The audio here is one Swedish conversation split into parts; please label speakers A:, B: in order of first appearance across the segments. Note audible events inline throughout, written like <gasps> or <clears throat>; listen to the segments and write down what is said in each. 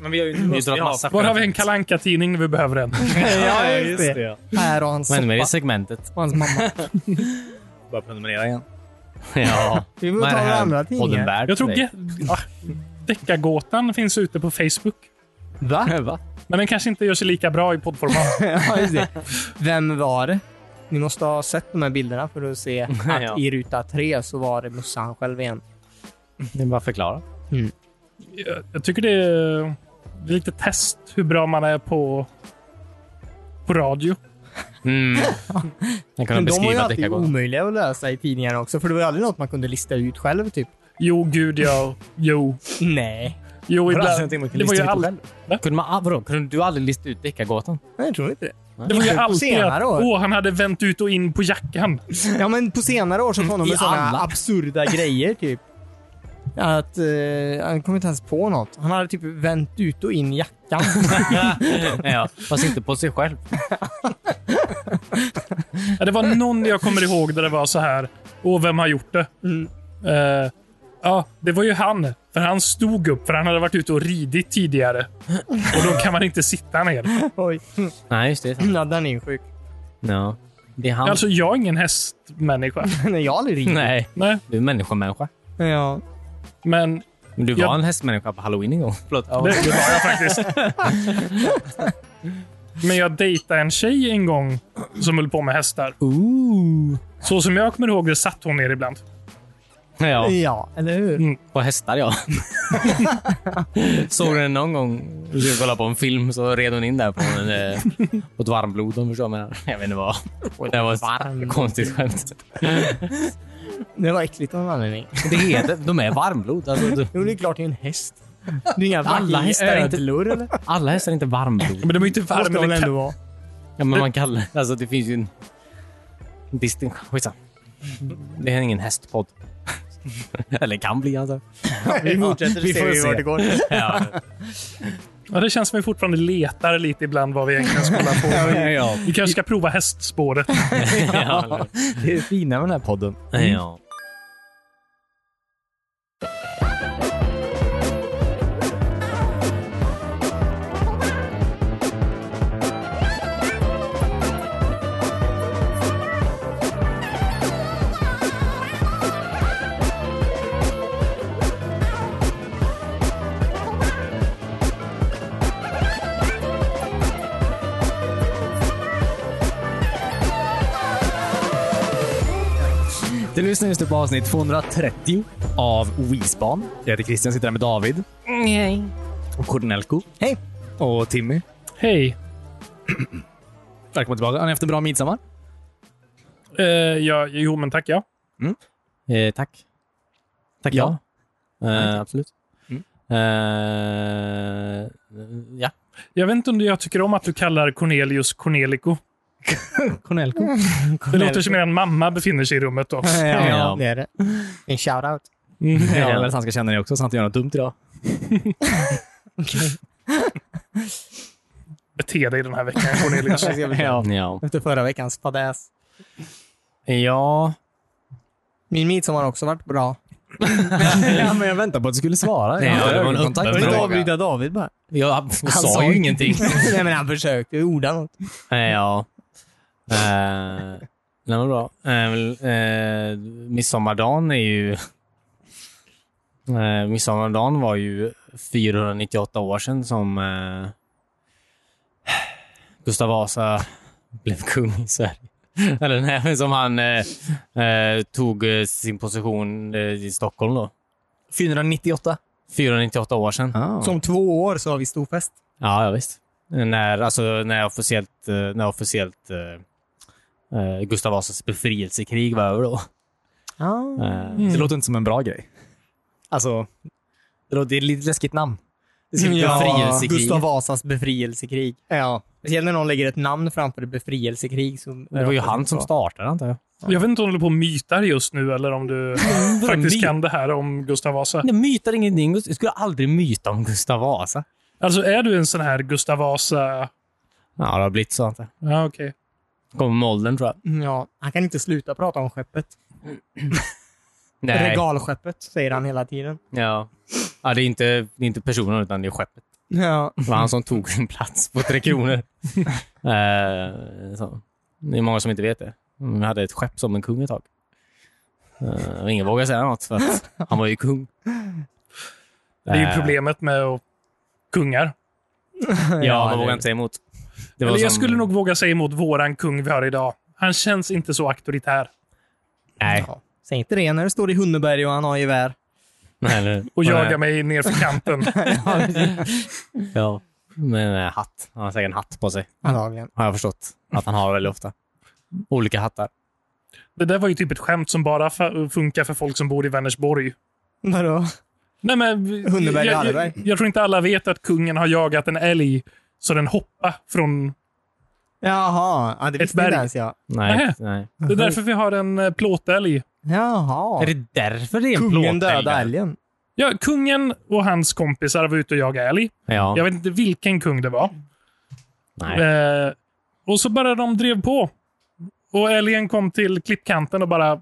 A: Men vi har ju inte
B: Vi drar
A: har-
B: massa
C: Var har vi en
B: skämt.
C: kalanka tidning när vi behöver en?
A: Ja,
D: Ja,
A: just det.
D: Här och hans
B: Men med i
D: soppa.
B: segmentet.
C: <laughs>
D: Och hans mamma.
A: Bara prenumerera igen.
B: Ja.
D: Vi får
B: Vad är
D: ta
B: det här
D: andra
B: podden
D: tidningar.
B: värd
C: Jag tror
B: för <laughs> dig?
C: Ge- ah, Deckargåtan finns ute på Facebook.
D: Va?
B: Va?
C: Men den kanske inte gör sig lika bra i poddformat.
D: ja, just det. Vem var det? Ni måste ha sett de här bilderna för
B: <laughs>
D: att se att
B: Ja.
D: i ruta tre så var det Mussan själv igen.
B: Det är bara att förklara.
C: Jag, jag tycker det är, det är lite test hur bra man är på, på radio.
B: Mm. Jag kunde
D: Men de var ju
B: beskriva
D: alltid
B: Deckargården.
D: omöjliga att lösa i tidningarna också, för det var ju aldrig något man kunde lista ut själv, typ.
C: Jo, gud ja. Jo.
D: Nej.
C: Jo,
A: Har du aldrig
C: ibland.
A: någonting man kan
C: Det var ju
A: lista ut
C: all,
A: själv?
B: Kunde, man, ah, vadå? kunde du aldrig lista ut
C: <laughs>
B: Deckargatan?
D: Nej, jag tror inte det.
C: det var ju
D: Inte på
C: alltid att
D: senare år.
C: åh, han hade vänt ut och in på jackan.
D: Ja, men på senare år så kom de
B: I
D: med sådana
B: alla. <laughs>
D: absurda grejer, typ. Att eh, han kom inte ens på något. Han hade typ vänt ut och in jackan. <laughs>
B: ja, fast inte på sig själv.
C: Ja, det var någon jag kommer ihåg där det var så här. Åh, vem har gjort det? Eh, ja, det var ju han. För han stod upp, för han hade varit ute och ridit tidigare. Och då kan man inte sitta ner.
D: Oj.
B: Nej, just det.
D: Ja, den är ju sjuk. <laughs>
B: Ja. Det är han.
C: Alltså, jag är ingen hästmänniska.
D: Nej, jag har aldrig ringt.
B: Nej,
C: Nej,
B: du är människomänniska.
D: Ja.
C: men
B: Men du var
C: Jag-
B: en hästmänniska på halloween en gång. <laughs> Förlåt.
C: det, det var jag faktiskt. Men jag dejtade en tjej en gång som höll på med hästar.
D: Ooh.
C: Så som jag kommer ihåg det satt hon ner ibland.
B: Ja,
D: Ja, Mm. eller hur?
B: på hästar ja. Såg du den någon gång? Vi skulle kolla på en film så red hon in där på, en, eh, på ett varmblod om du förstår vad jag menar. Jag vet inte vad. Det var ett konstigt skämt.
D: Det var äckligt av någon anledning.
B: Det heter, de är varmblod. Alltså, du-
D: Jo, det är klart det är en häst. Det är inga
B: Alla
D: fucking
B: hästar är inte-
D: ödlor, eller?
B: alla hästar är inte varmblod.
C: Men de är ju inte
D: Måste
C: varma.
D: de
C: Det
D: ändå
C: kan-
D: vara.
B: Ja, men man kallar Alltså det finns ju en... en distinktion. Skitsamma. Det är ingen hästpodd. Eller kan bli alltså.
D: <laughs> Vi fortsätter
B: Vi får se.
D: vart det går.
B: Ja,
C: Ja, det känns som vi fortfarande letar lite ibland vad vi egentligen ska
B: <laughs>
C: hålla på med.
B: ja.
C: Vi kanske ska prova hästspåret.
B: ja.
D: Det är fina med den här podden.
B: ja. Du lyssnar just nu på avsnitt 230 av Wisban. Jag heter Christian, sitter här med David. Och Kornelko.
D: Hej.
B: Och Timmy.
C: Hej.
B: Välkommen tillbaka. Har ni haft en bra midsommar?
C: Eh, ja, jo, men tack ja.
B: Eh, tack. Tack ja. Eh, absolut. Eh, ja.
C: Jag vet inte om jag tycker om att du kallar Cornelius Cornelico.
B: Kornelko.
C: Det låter som en mamma befinner sig i rummet då.
D: Ja,
B: <laughs> Ja.
D: det är det. En shout-out.
B: <laughs> Ja, eller att han ska känna det också, så han inte gör något dumt idag.
C: Bete dig den här veckan,
D: <laughs>
C: Cornelius.
B: Ja. Ja.
D: Efter förra veckans fadäs.
B: ja.
D: Min midsommar har också varit bra.
E: Ja, men jag väntar på att du skulle svara.
B: Ja, det var en
E: ögonkontakt.
B: öppen
E: med
D: Vill du
E: dig.
B: fråga.
D: avbryta David bara?
B: Jag sa
D: sa
B: ju
D: ju-
B: ingenting.
D: <laughs> Nej, men han försökte orda något.
B: Eh, ja. Eh, nej, men bra. Eh, eh, midsommardagen är ju... Eh, midsommardagen var ju 498 år sedan som eh, Gustav Vasa blev kung i Sverige. Eller nej, men som han eh, eh, tog eh, sin position eh, i Stockholm då.
E: 498.
B: 498 år sedan.
D: Som två år så har vi storfest.
B: Ja, ja visst. När, alltså, när officiellt, eh, när officiellt eh, eh, Gustav Vasas befrielsekrig var över då.
D: Ja.
B: Eh,
E: Det låter inte som en bra grej. Alltså, det låter- det är ett lite läskigt namn.
B: det skulle bli befrielsekrig.
D: Gustav Vasas befrielsekrig. Ja. Speciellt när någon lägger ett namn framför befrielsekrig. Som
B: Det var ju han som startade antar jag.
C: Jag vet inte om du håller på och mytar just nu eller om du faktiskt kan det här om Gustav Vasa.
B: Jag mytar ingenting. Jag skulle aldrig myta om Gustav Vasa.
C: Alltså, är du en sån här Gustav Vasa...
B: Ja, det har blivit så antar
C: Ja, okej.
B: jag. Kommer med åldern tror jag.
D: Ja, han kan inte sluta prata om skeppet.
B: Nej.
D: Regalskeppet, säger han hela tiden.
B: Ja. ja, det är inte, det är inte personen utan det är skeppet.
D: Ja.
B: Det var han som tog sin plats på Tre Kronor.
C: <laughs>
B: Eh, så. Det är många som inte vet det. Men Vi hade ett skepp som en kung ett tag. Eh, och ingen vågade säga något, för att han var ju kung.
C: Det är ju
B: Eh,
C: problemet med att- kungar.
B: Ja, man
D: det-
B: vågar inte säga emot. Det
C: Eller jag
B: som-
C: skulle nog våga säga emot våran kung vi har idag. Han känns inte så auktoritär.
B: Nej.
D: Ja. Säg inte det när du står i Hunneberg och han har gevär.
B: nej, eller-
C: <laughs> Och
B: Nej.
C: jagar mig ner för kanten.
B: <laughs> Ja. Men eh, hatt. Han har säkert en hatt på sig,
D: Antagligen.
B: har jag förstått. Att han har väldigt ofta. Olika hattar.
C: Det där var ju typ ett skämt som bara fa- funkar för folk som bor i Vänersborg.
D: Vadå?
C: Nej, men,
D: Hunneberg och
C: jag,
D: Hallberg.
C: jag, jag tror inte alla vet att kungen har jagat en älg så den hoppar från...
D: Jaha, ja, det visste
C: berg.
D: inte ens jag.
B: Nej,
C: Nähä.
B: nej.
C: Det är därför vi har en eh, plåtälg.
D: Jaha.
B: Är det därför det är en
D: Kungen
B: plåtälg
D: döda
B: där?
D: älgen.
C: Ja, kungen och hans kompisar var ute och jagade älg.
B: Ja.
C: Jag vet inte vilken kung det var.
B: Nej. <laughs>
C: Eh, och så bara de drev på. Och älgen kom till klippkanten och bara,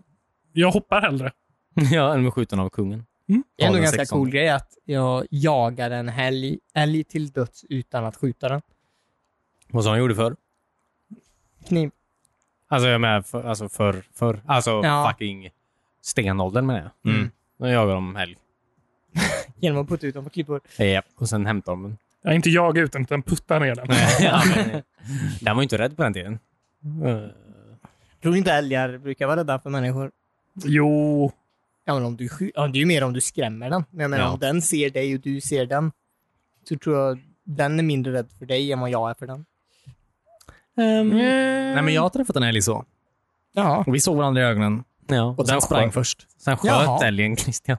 C: jag hoppar hellre.
B: Ja, den var skjuten av kungen.
C: Mm.
D: Det är ändå en
B: Adel
D: ganska
B: 16.
D: cool grej att jag jagade en älg, älg till döds utan att skjuta den.
B: Vad som han gjorde förr.
D: Kniv.
B: Alltså jag menar, för, alltså för, för Alltså
D: Ja.
B: fucking stenåldern menar jag.
E: Mm.
B: Då jagar de älg.
D: Genom att putta ut dem på klippor.
B: Japp. Och sen
E: <laughs>
B: hämtar de den.
C: Jag inte jaga ut den, utan putta ner den.
B: ja, men, <laughs> den var ju inte rädd på den tiden. Eh,
E: Ehm.
D: Tror inte älgar brukar vara rädda för människor?
C: Jo,
D: Ja, men om du, sky- ja, det är ju mer om du skrämmer den. Men jag menar,
B: Ja.
D: om den ser dig och du ser den, så tror jag den är mindre rädd för dig än vad jag är för den.
B: Mm.
E: Nej, men jag har träffat en älg så.
D: Ja.
E: Och vi såg varandra i ögonen.
B: Ja,
E: Och den sprang först.
B: Sen sköt
D: Jaha.
E: <laughs>
B: älgen Christian.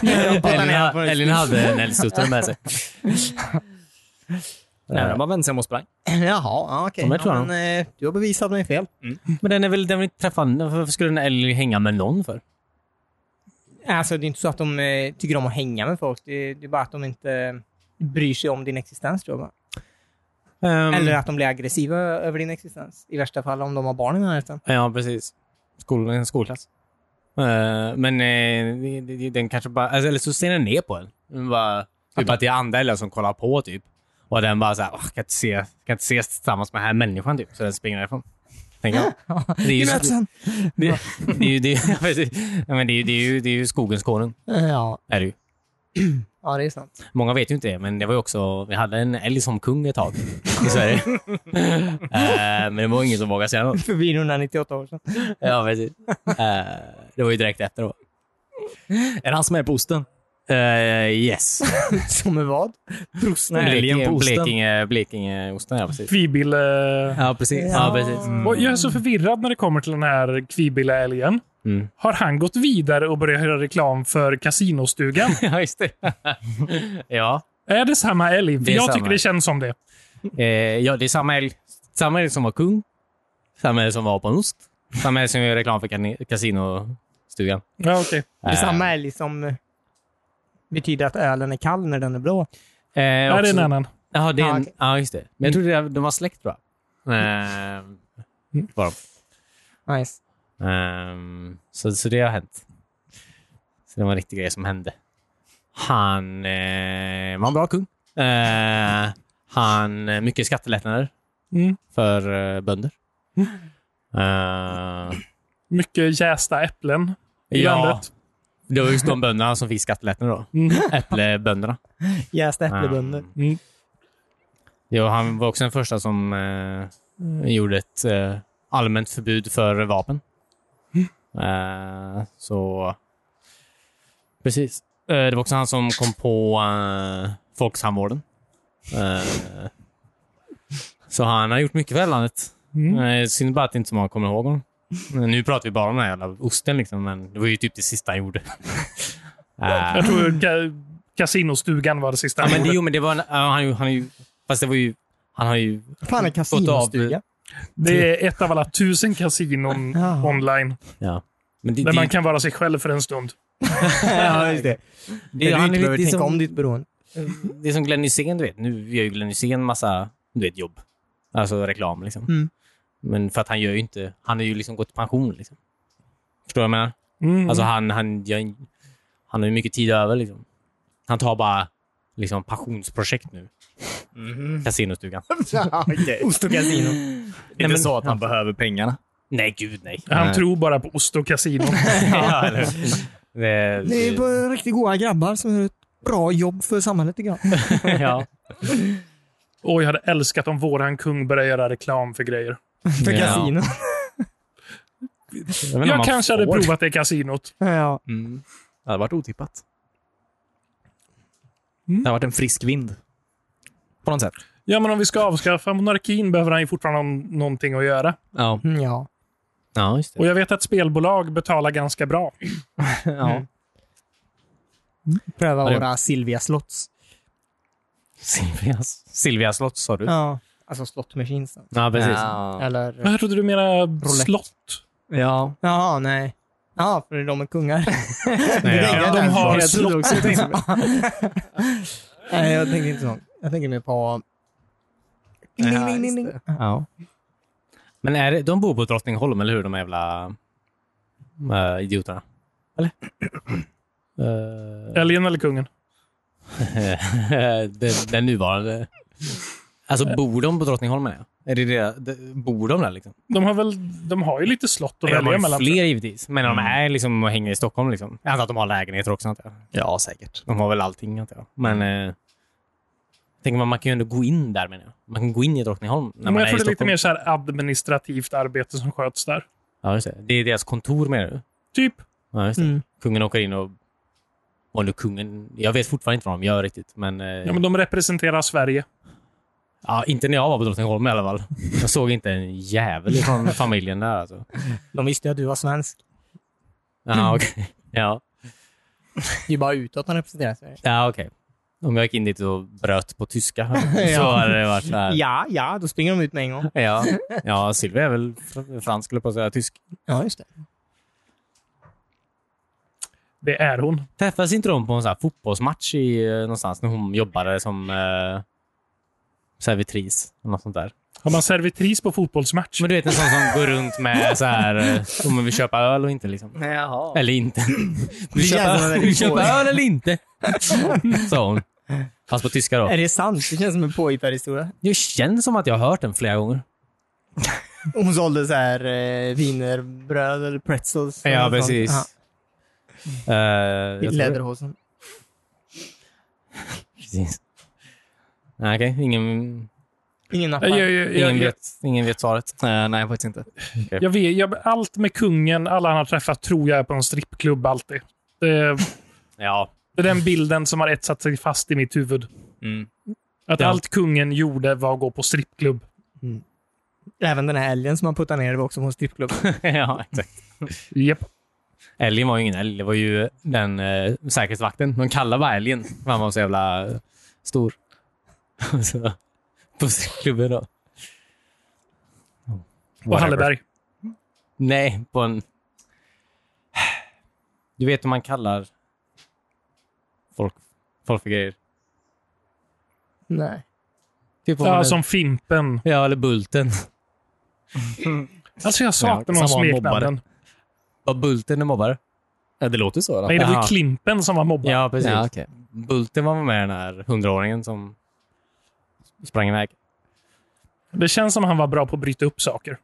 D: den
B: Älgen,
D: är på-
B: ha- älgen hade en älgsuttare med sig.
E: Nej, den bara vände sig om och sprang.
D: <clears throat> Jaha, ja, okej.
B: De är
D: Ja,
B: klara.
D: men, eh, du har bevisat mig fel.
B: Men den är väl, den vill inte träffa, varför skulle en älg hänga med någon för?
D: Alltså, det är inte så att de eh, tycker om att hänga med folk. Det, det är bara att de inte bryr sig om din existens, tror jag. bara.
B: Ehm,
D: Eller att de blir aggressiva över din existens. I värsta fall om de har barn i närheten.
B: Ja, precis. Skol, en skolklass. Eh, men eh, det- det- den kanske bara... Alltså, eller så ser den ner på en. Den bara, typ att det är andra älgar som kollar på, typ. Och den bara såhär, "Åh, kan inte se, kan inte ses tillsammans med den här människan, typ. Så den springer därifrån. Tänker jag. Det är ju,
D: Vi möts sen!
B: det, det är ju, det, <laughs> är- precis. ja, men det, är ju- det, är ju, det är ju skogens konung.
D: Eh, Ja,
B: Är det ju.
D: ja, det är sant.
B: Många vet ju inte det, men det var ju också... Vi hade en älg som kung ett tag i Sverige. Eh, men det var ingen som vågade säga något.
D: Förbi 198 år sedan.
B: Ja, precis. Eh, det var ju direkt efter då.
E: Är det han som är på osten?
B: Eh, yes.
D: <laughs> Som är vad?
E: Prosten. Älgen på
B: Blekinge,
E: osten.
B: Blekinge, Blekingeosten, ja precis.
C: kvibille...
B: Ja, precis.
D: Ja.
B: Ja, precis. Mm.
C: Och jag är så förvirrad när det kommer till den här kvibille-älgen.
B: Mm.
C: Har han gått vidare och börjat göra reklam
B: <laughs>
C: för kasinostugan?
B: Ja, just det. ja.
C: är det samma älg? För
B: Det är
C: jag
B: samma.
C: tycker det känns som det.
B: Eh, ja, det är samma älg. Samma älg som var kung. Samma älg som var på en ost. Samma älg som gör reklam för kan- kasinostugan.
C: Ja, okej.
D: Det är
B: Äh.
D: samma älg som eh, betyder att ölen är kall när den är blå.
B: Eh,
C: Är det är en
B: också-
C: annan.
B: Ja, det är
D: Ja,
B: en,
D: okej.
B: ja, just det. Men jag trodde det- de var släkt, tror jag. Eh, var de.
D: Nice.
B: Ehm, så, så det har hänt. Så det var en riktig grej som hände. Han eh, var en bra kung. Eh, han, eh, mycket skattelättnader
C: Mm.
B: för eh, bönder. Eh,
C: Mycket jästa äpplen i
B: Ja.
C: landet.
B: det var just de bönderna som fick skattelättnader då. Äpplebönderna.
D: Jästa äpplebönder.
B: Ehm,
C: Mm.
B: ja, han var också den första som eh, gjorde ett eh, allmänt förbud för vapen.
C: Mm.
B: Eh, så... Precis. Eh, det var också han som kom på eh, folktandvården. Eh, så han har gjort mycket för landet.
C: Mm.
B: Eh, synd bara att inte så många kommer ihåg honom. Men nu pratar vi bara om den här jävla osten, liksom, men det var ju typ det sista han gjorde. Eh,
C: Jag tror ka- kasinostugan var det sista
B: Ja,
C: han
B: men det,
C: gjorde.
B: jo, men det var en, ja, han, ju- han, är ju, fast det var ju, han har ju,
D: fan
B: <laughs>
D: är kasinostuga?
C: Det är ett av alla tusen kasinon
D: Ja.
C: online.
B: ja. Men det,
C: Där
B: det,
C: man kan vara sig själv för en stund.
D: ja, just det.
B: det,
D: du
B: han
D: inte
B: är
D: behöver
B: lite
D: tänka
B: som,
D: om ditt
E: <laughs>
D: beroende.
B: det är som Glenn Hysén, du vet. Nu gör ju Glenn Hysén massa, du vet, jobb. Alltså reklam liksom.
D: Mm.
B: Men för att han gör ju inte, han har ju liksom gått i pension liksom. Förstår du vad jag menar?
C: Mm.
B: Alltså han, han, gör- han har ju mycket tid över liksom. Han tar bara liksom, passionsprojekt nu.
C: Mm-hmm.
A: Mhm.
B: Casinostugan.
A: Ja,
E: <laughs>
A: okej.
D: Ost och kasino.
A: Det är inte så att han behöver pengarna.
B: Nej, gud nej.
C: Han
B: Nej.
C: tror bara på ost och kasino.
B: Ja, eller hur? det,
E: Det är bara riktigt goa grabbar som gör ett bra jobb för samhället. Idag.
B: <laughs> ja.
C: Åh, jag hade älskat om våran kung började göra reklam för grejer.
D: För
E: <laughs>
B: Ja.
D: kasino.
B: Jag, vet inte om
C: Jag
B: man
C: kanske hade
B: får.
C: provat det i kasinot.
D: Ja.
B: Mm.
A: Det hade varit otippat.
B: Mm.
A: Det hade varit en frisk vind. På något sätt.
C: Ja, men om vi ska avskaffa monarkin behöver han ju fortfarande någon- någonting att göra.
B: Ja.
D: Mm, ja.
B: ja, just det.
C: Och jag vet att spelbolag betalar ganska bra.
B: Ja.
D: Pröva
B: Ja, det-
D: våra Silvia slotts.
B: Silvias, Silvia slott sa du?
D: Ja. Alltså slott machines. då.
B: Ja, precis.
A: Ja.
D: Eller...
C: Jag trodde du menade slott.
A: ja.
D: Jaha, nej. Ja, för de är kungar.
B: Nej, ja.
D: Det är
C: de
D: därför.
C: har ett slott.
D: Nej, jag tänker inte så. Jag tänker mer på... Ding, ding, ding, ding.
B: Ja. Men är det, de bor på Drottningholm, eller hur? De jävla äh, idioterna.
C: <clears throat>
B: Eller? Eh,
C: <laughs> Älgen eller kungen?
B: den, den nuvarande.
C: Eh.
B: Alltså, bor de på Drottningholmen? Ja? Är det det, det, bor de där? Liksom?
C: De har, väl, de har ju lite slott att
B: De har
C: välja
B: ju
C: mellan. Mm.
B: fler givetvis, men de är liksom och hänger i Stockholm. Liksom. Jag antar att de har lägenheter också. Antar jag.
A: ja, säkert.
B: De har väl allting, antar jag. Men
C: Mm.
B: eh, tänker man, man kan ju ändå gå in där, menar jag. Man kan gå in i Drottningholm när
C: Men
B: man
C: jag
B: är
C: tror
B: i
C: det är lite
B: Stockholm.
C: mer så här administrativt arbete som sköts där.
B: Ja, just det. det är deras kontor, menar du?
C: Typ.
B: Ja, just det.
D: Mm.
B: Kungen åker in och... Och nu kungen... Jag vet fortfarande inte vad de gör riktigt, men... eh,
C: Ja, men de representerar Sverige.
B: ja, inte när jag var på Drottningholm i alla fall. Jag såg inte en jävel från familjen där. Alltså.
D: De visste ju att du var svensk.
B: Ja, okej. Ja,
D: Det är bara utåt han representerar Sverige.
B: ja, okej. Om jag gick in dit och bröt på tyska så
D: Ja.
B: hade det varit så här.
D: Ja, ja, då springer de ut med en gång.
B: Ja, ja Silvia är väl fr- fransk, eller på att säga tysk.
D: Ja, just det.
C: Det är hon.
B: Träffades inte de på en sån här fotbollsmatch i, eh, någonstans när hon jobbade som eh, servitris? eller Något sånt där.
C: Har man servitris på fotbollsmatch?
B: Men du vet en sån som går runt med så här, eh, om man vill köpa öl och inte liksom.
D: Jaha.
B: Eller <laughs> inte. Vill du köpa,
D: jävlar, det är
B: vill du köpa
D: på.
B: öl eller inte? Sa hon. Fast på tyska då.
D: Är det sant? Det känns som en påhittad historia.
B: Eh, Det känns som att jag har hört den flera gånger.
D: Hon sålde så här eh, wienerbröd eller pretzels. eller något
B: Eh,
D: sånt. Ja,
B: jag
D: I
B: tror det.
D: läderhosen.
B: Precis. Nej, Okej, ingen,
D: Ingen nappar.
C: Jag, jag, jag, jag,
B: ingen,
C: jag,
B: vet, ingen vet svaret.
A: Eh, nej, faktiskt inte.
C: jag vet, jag, allt med kungen, alla han har träffat, tror jag är på en strippklubb alltid. Det,
B: Ja.
C: det är den bilden som har etsat sig fast i mitt huvud.
A: Mm.
C: Att
B: Ja.
C: allt kungen gjorde var att gå på strippklubb.
D: Även den här älgen som man puttade ner var också på en strippklubb.
B: <laughs> ja, exakt.
C: Japp.
B: Älgen var ju ingen älg. Det var ju den eh, säkerhetsvakten. De kallar bara älgen. för Han var så jävla eh, stor. <laughs> så, på klubben då.
C: På Halleberg.
B: Nej, på en... Du vet hur man kallar folk, folk för grejer?
D: Nej.
B: Typ om man är-
C: Ja, som Fimpen.
B: ja, eller Bulten.
C: Alltså jag saknar
B: Ja,
C: någon
B: som var mobbare.
C: smeknamnen.
B: Var Bulten en mobbare?
A: Ja, det låter så. Då.
C: Nej, det var ju
B: Ja.
C: Klimpen som var mobbare.
B: Ja, precis.
A: Ja, okej.
B: Bulten var med den här hundraåringen som sprang iväg.
C: Det känns som han var bra på att bryta upp saker.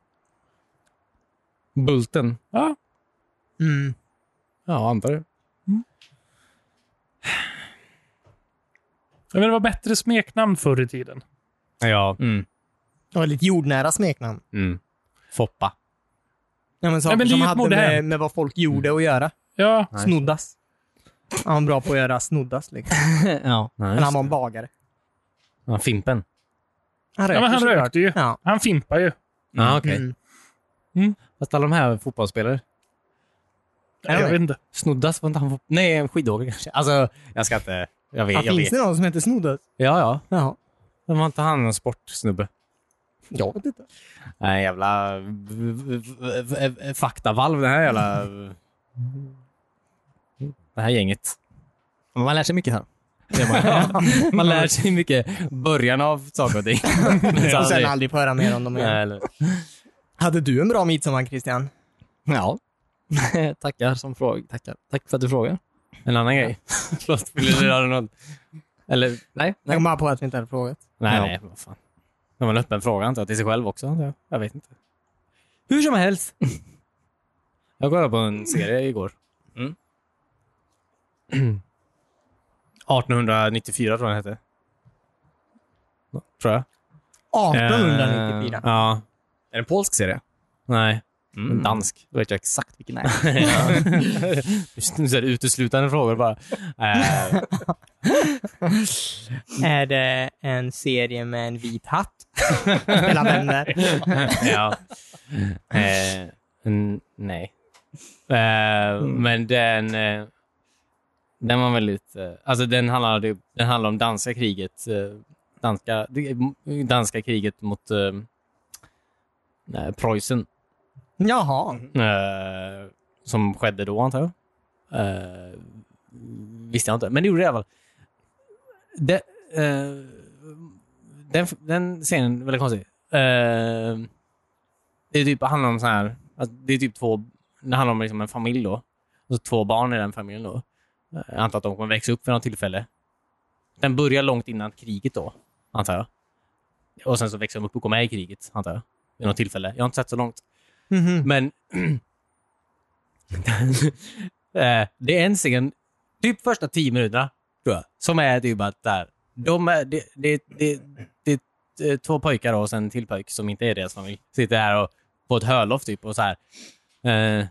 B: Bulten?
C: Ja.
D: Mm.
B: Ja, antar det.
C: Men det var bättre smeknamn förr i tiden.
B: Ja.
A: Mm.
D: Det var lite jordnära smeknamn.
B: Mm. Foppa. <laughs>
D: Ja, men saker
C: men det är
D: som
C: ju ett
D: hade
C: modernt.
D: med, med vad folk gjorde att göra.
C: Ja,
B: Nej.
D: Snoddas. Han var bra på att göra snoddas.
B: Mm.
D: Liksom.
B: ja.
D: Men han var en bagare.
B: ja Fimpen.
D: Han
C: ja men han
D: såklart.
C: rökte ju.
D: Ja.
C: Han fimpar ju.
B: Ja, Ah, okej.
D: Mm.
B: Fast alla de här fotbollsspelare.
D: Ja,
C: Jag
D: men-
C: vet inte.
B: Snoddas var inte han fot- Nej, en skidåkare kanske. Alltså, jag ska inte... Jag vet.
D: Ja,
B: Jag
D: finns
B: vet.
D: det någon som heter Snoddas?
B: Ja, ja.
D: Jaha.
B: Men var inte han en sportsnubbe?
D: Jag vet inte.
B: Nej, jävla v- v- v- v- v- faktavalv det här jävla... Det här gänget.
A: Man lär sig mycket här.
B: <laughs> Man lär sig mycket början av saker <laughs> och ting. Men
D: Och sen
B: aldrig-
D: aldrig få höra mer om dem igen.
B: Nej, eller-
D: Hade du en bra midsommar, Christian?
A: Ja. <laughs> tackar som fråga. Tackar. Tack för att du frågar. <laughs>
B: En annan grej. Förlåt, vill du göra något? Eller?
A: Nej,
D: Jag kom bara på att vi inte hade frågat.
B: Nej,
A: Ja.
B: nej. Vad fan. Det var en öppen fråga antar jag, till sig själv också. antar jag. Jag vet inte. Hur
A: <laughs>
B: som helst. Jag kollade på en serie igår.
A: Mm.
B: <clears throat> 1894 tror jag den hette. Tror jag.
D: 1894.
B: Eh, ja.
A: Är det en polsk serie?
B: Nej.
A: Mm.
B: Dansk.
A: Då vet jag exakt vilken det är.
B: <laughs> Just nu så är det uteslutande frågor bara. Eh,
D: Eh, Är det en serie med en
B: <laughs>
D: vit hatt? Hela vänner.
B: ja. Eh, n- nej. Eh,
A: Mm.
B: Men den, eh, den var väldigt... Eh, alltså den handlade, den handlade om danska kriget. Eh, danska, det- danska kriget mot eh, eh, Preussen.
D: Jaha.
B: Mm-hmm. Eh, som skedde då, antar jag. Eh, visste jag inte, men det gjorde det i alla fall. Det, eh, den, den scenen är väldigt konstig. Eh, det är typ, handlar om så här, att det är typ två, det handlar om liksom en familj då. Och så två barn i den familjen då. Eh, Jag antar att de kommer växa upp vid något tillfälle. Den börjar långt innan kriget då, antar jag. Och sen så växer de upp och går med i kriget, antar jag. Vid något tillfälle. Jag har inte sett så långt.
D: Mhm.
B: Men <clears throat> Eh, det är en scen, typ första tio minuterna, tror jag, som är typ att där. De är, det, det, det, det, det är två pojkar och sen en till pojk som inte är deras familj. Sitter här och, på ett hörloft typ och så här. Eh,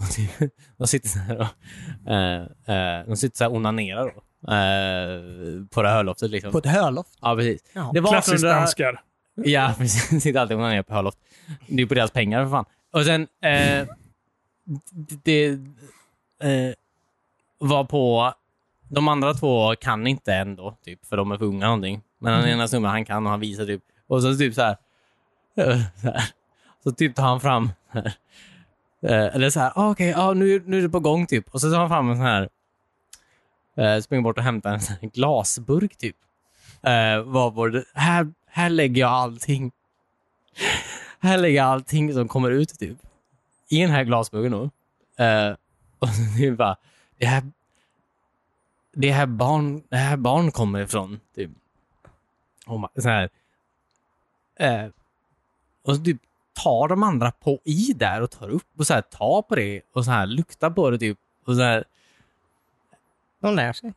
B: och typ, <laughs> de sitter så här och, eh, eh, de sitter så här och onanerar då. Eh, på det här hörloftet liksom.
D: På ett hörloft.
B: Ja, precis.
D: Ja.
B: Det var
C: Klassiskt
B: 1800
C: danskar.
B: Ja, <laughs> precis. Sitter alltid och onanerar på Hörloft. Det är ju på deras pengar för fan. Och sen, eh, d- det eh, var på... De andra två kan inte ändå, typ, för de är för unga någonting. Men den ena snubben, han kan och han visar typ. Och så typ så här. eh, Så, här. så typ tar han fram... Här. Eh, Eller så här, ah, okej, ah, nu, nu är det på gång typ. Och så tar han fram en sån här... Eh, springer bort och hämtar en sån här glasburk typ. Eh, var vår, här, här lägger jag allting. Här lägger jag allting som kommer ut typ. I den här glasburken då. Eh, och så det är bara, det här, det här barn, det här barn kommer ifrån. Typ. Och man, så här. Eh, och så typ tar de andra på i där och tar upp och så här tar på det och så här luktar på det typ. Och så här,
D: De lär sig.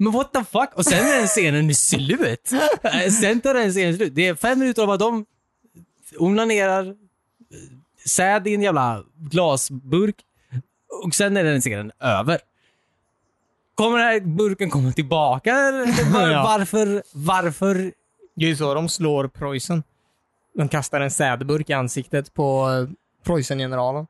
B: Men what the fuck? Och sen är den scenen <laughs> slut. Eh, Sen tar den scenen slut. Det är fem minuter av att de onanerar, eh, säd i en jävla glasburk och sen är den scenen över. Kommer den här burken komma tillbaka? <laughs> eller Var,
D: Ja.
B: Varför? Varför?
D: Det är ju så de slår Preussen. De kastar en sädburk i ansiktet på eh, Preussen-generalen.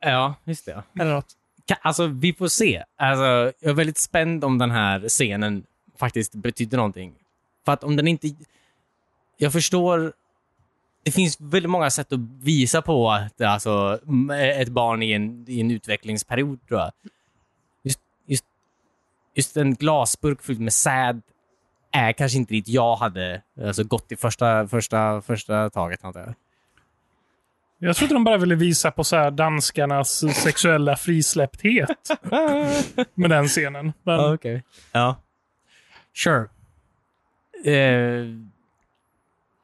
B: Ja, just det.
D: Eller något.
B: Ka- Alltså, vi får se. Alltså, jag är väldigt spänd om den här scenen faktiskt betyder någonting. För att om den inte... Jag förstår... Det finns väldigt många sätt att visa på att alltså, m- ett barn i en, i en utvecklingsperiod, tror jag. Just, just, just en glasburk fylld med säd är kanske inte dit jag hade alltså, gått i första, första, första taget, antar jag.
C: Jag trodde de bara ville visa på så här danskarnas sexuella frisläppthet med den scenen. Men
B: Okej. Ja. Sure. Eh,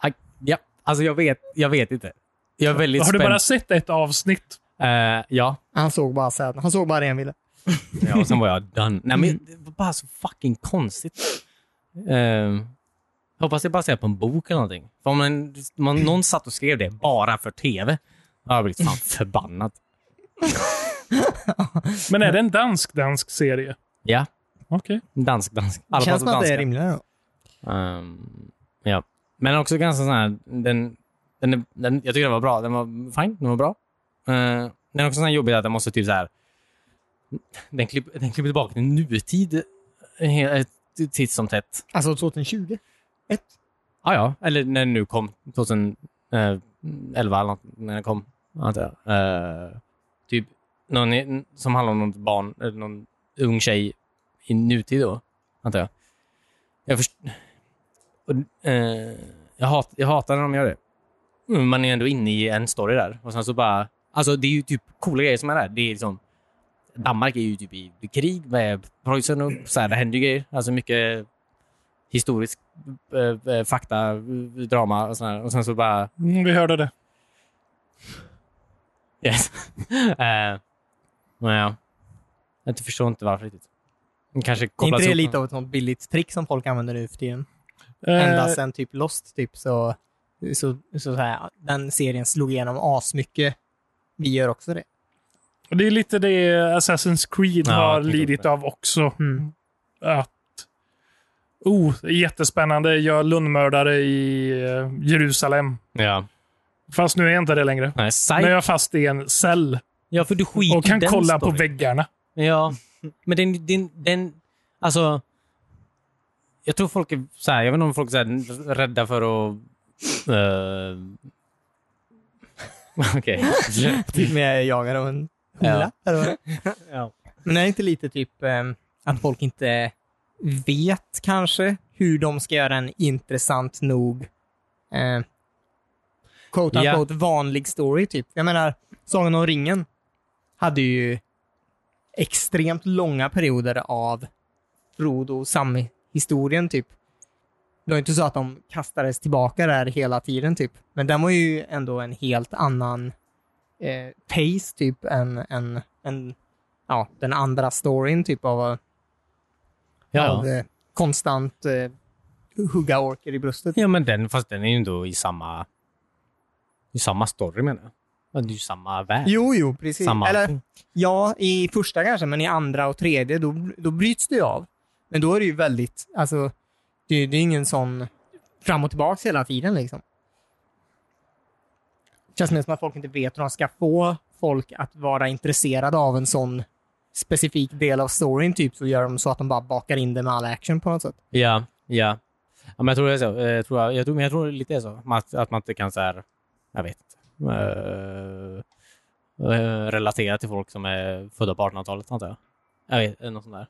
B: I, ja, alltså jag vet, jag vet inte. Jag är väldigt
C: har du
B: spänd.
C: bara sett ett avsnitt?
B: Eh, ja.
D: Han såg bara säden. Han såg bara det han ville.
B: ja, och sen var jag done. <laughs> Nej, men det var bara så fucking konstigt. Eh, hoppas det är baserat på en bok eller någonting. För om man, man, någon satt och skrev det bara för tv, då hade jag blivit fan förbannad.
C: Men är det en dansk-dansk serie?
B: Ja,
C: Okej.
B: dansk, dansk. Alla
D: Känns
B: pratar
D: som att det
B: danska.
D: är rimligare. då.
B: Ehm, ja. Men också ganska sån här, den, den, är- den, jag tycker den var bra. Den var fine, den var bra. Uh, den är också sån här jobbig att den måste typ så här, den, klipp, den klipper tillbaka till nutid he- eh, titt som tätt.
D: Alltså 2020.
B: Ah, ja, eller när den nu kom, 2011 eller något, när den kom, antar jag. Eh, typ någon i- som handlar om något barn, eller någon ung tjej i nutid då, antar jag. Jag, först- och, eh, jag, hat, jag hatar när de gör det. Mm, Man är ändå inne i en story där. Och sen så bara... Alltså det är ju typ coola grejer som är där. Det är liksom Danmark är ju typ i krig med Preussen och så här, det händer ju grejer. Alltså mycket historisk eh, eh, fakta, eh, drama och sådär. Och sen så bara...
C: Mm, vi hörde det.
B: Yes. <laughs> eh, men ja. Jag inte förstår inte varför riktigt. Kanske
D: Är
B: kopplas
D: inte det
B: ihop-
D: lite av ett sånt billigt trick som folk använder nu för tiden?
C: Eh,
D: Ända sedan typ Lost typ så, så, så, så här, den serien slog igenom asmycket. Vi gör
B: <laughs>
D: också det.
C: Och Det är lite det Assassin's Creed
B: Ja,
C: har
B: jag tänkte
C: lidit
B: på det.
C: av också.
D: Mm.
C: Att... Oh, det är jättespännande. Jag är lönnmördare i eh, Jerusalem.
B: Ja.
C: Fast nu är jag inte det längre.
B: Nej,
C: Nu är
B: Psych.
C: jag fast i en cell
B: Ja, för du skiter
C: och kan
B: i den
C: kolla
B: storyn.
C: på väggarna.
B: Ja, men den, den, den alltså... Jag tror folk är så här, jag vet inte om folk är så här, rädda för att... eh, <laughs> Okej.
D: Till med jagad av en humla. eller vad det är.
B: <laughs> Ja.
D: Men är det inte lite typ ehm, att folk inte vet kanske hur de ska göra en intressant nog eh, quote
B: Ja.
D: unquote vanlig story typ. Jag menar, Sagan om ringen hade ju extremt långa perioder av Frodo och Sam-historien typ. Det var ju inte så att de kastades tillbaka där hela tiden typ. Men den var ju ändå en helt annan eh, pace typ än, än, än ja, den andra storyn typ av,
B: Ja.
D: av eh, konstant eh, hugga orker i bröstet.
B: ja, men den, fast den är ju ändå i samma... I samma story menar jag. Men Det är ju samma värld.
D: Jo, jo, precis.
B: Samma
D: Eller,
B: allting.
D: ja, i första kanske, men i andra och tredje, då, då bryts det ju av. Men då är det ju väldigt, alltså, det, är- det är ingen sån fram och tillbaks hela tiden liksom. Det känns mer som att folk inte vet hur de ska få folk att vara intresserade av en sån specifik del av storyn, typ, så gör de så att de bara bakar in det med all action på något sätt.
B: Ja, ja. ja men jag tror det är så. Eh, Jag tror, jag tror, men jag tror det lite är så. Man- Att, att man inte kan så här, jag vet inte, eh, eh, relatera till folk som är födda på 1800-talet, antar jag. Jag vet, eh, något sånt där.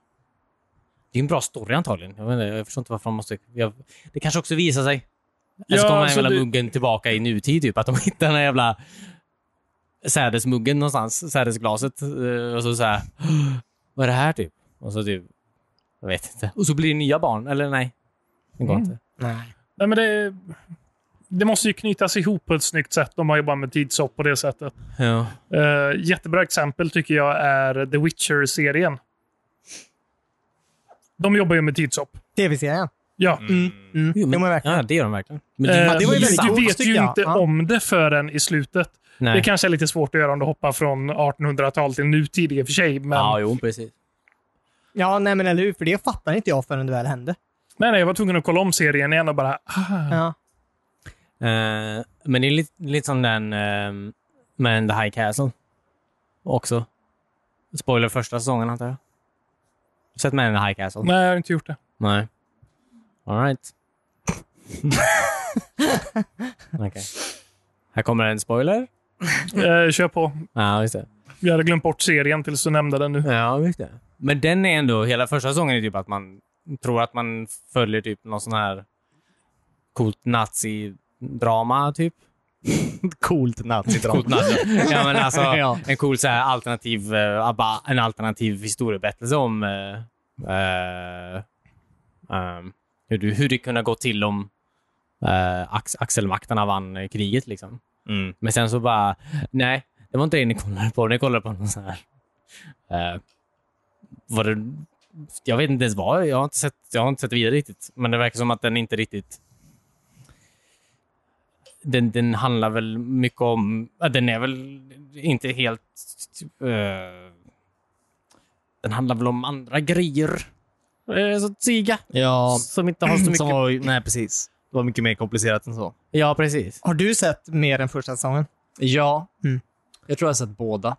B: Det är en bra story antagligen. Jag, vet inte, jag förstår inte varför man måste... Jag, det kanske också visar sig. Eller så
C: Ja,
B: kommer den
C: alltså
B: jävla
C: det-
B: muggen tillbaka i nutid, typ. Att de <laughs> hittar den här jävla sädesmuggen någonstans, sädesglaset. eh, Och så så här, vad är det här typ? Och så typ, jag vet inte. Och så blir det nya barn, eller nej? Det går inte.
D: Nej.
C: Nej, men det, det måste ju knytas ihop på ett snyggt sätt. De har jobbat med tidshopp på det sättet.
B: Ja.
C: Eh, jättebra exempel tycker jag är The Witcher-serien. De jobbar ju med tidshopp.
D: Tv-serien.
C: Ja.
D: Mm. Mm.
B: Jo,
D: Jo,
B: men,
D: men verkligen.
B: ja, det gör de verkligen. Men
C: Eh,
B: det,
D: det var ju väldigt
C: du
D: coolt,
C: vet
D: tycker
C: ju
D: jag.
C: inte
D: Ja.
C: om det förrän i slutet.
B: nej.
C: Det kanske är lite svårt att göra om du hoppar från 1800-tal till nutid i och för sig. Men...
B: Ja, jo, precis.
D: Ja, nej men eller hur, för det fattar inte jag förrän det väl hände.
C: Nej, nej, jag var tvungen att kolla om serien igen och bara... Ah.
D: Ja.
B: Eh, men det är lite, lite som den uh, med The High Castle också. Spoiler första säsongen, antar jag. Sett med The High Castle?
C: Nej, jag har inte gjort det.
B: Nej. All right. <laughs> Okej. Här kommer en spoiler.
C: Eh, kör på.
B: Ja, just det.
C: Jag hade glömt bort serien tills du nämnde den nu.
B: Ja, just det. Men den är ändå, hela första säsongen är typ att man tror att man följer typ någon sån här coolt nazidrama typ.
E: Coolt nazidrama.
B: Coolt nazi. ja, men alltså, En cool så här, alternativ, eh, bara en alternativ historieberättelse om eh, eh, ehm, hur, du, hur det kunde gå till om eh, ax, axelmakterna vann eh, kriget liksom.
E: Mm.
B: Men sen så bara, nej, det var inte det ni kollade på. Ni kollade på någon sån här... Eh, var det, jag vet inte ens vad. Jag har inte, sett, jag har inte sett det vidare riktigt. Men det verkar som att den inte riktigt... Den, den handlar väl mycket om... ja, Den är väl inte helt... eh, den handlar väl om andra grejer. Eh, Så att säga.
E: Ja,
B: Som inte har så mycket...
E: som var, nej precis. Det var mycket mer komplicerat än så.
B: Ja, precis.
D: Har du sett mer än första säsongen?
E: Ja.
D: Mm.
E: Jag tror jag har sett båda.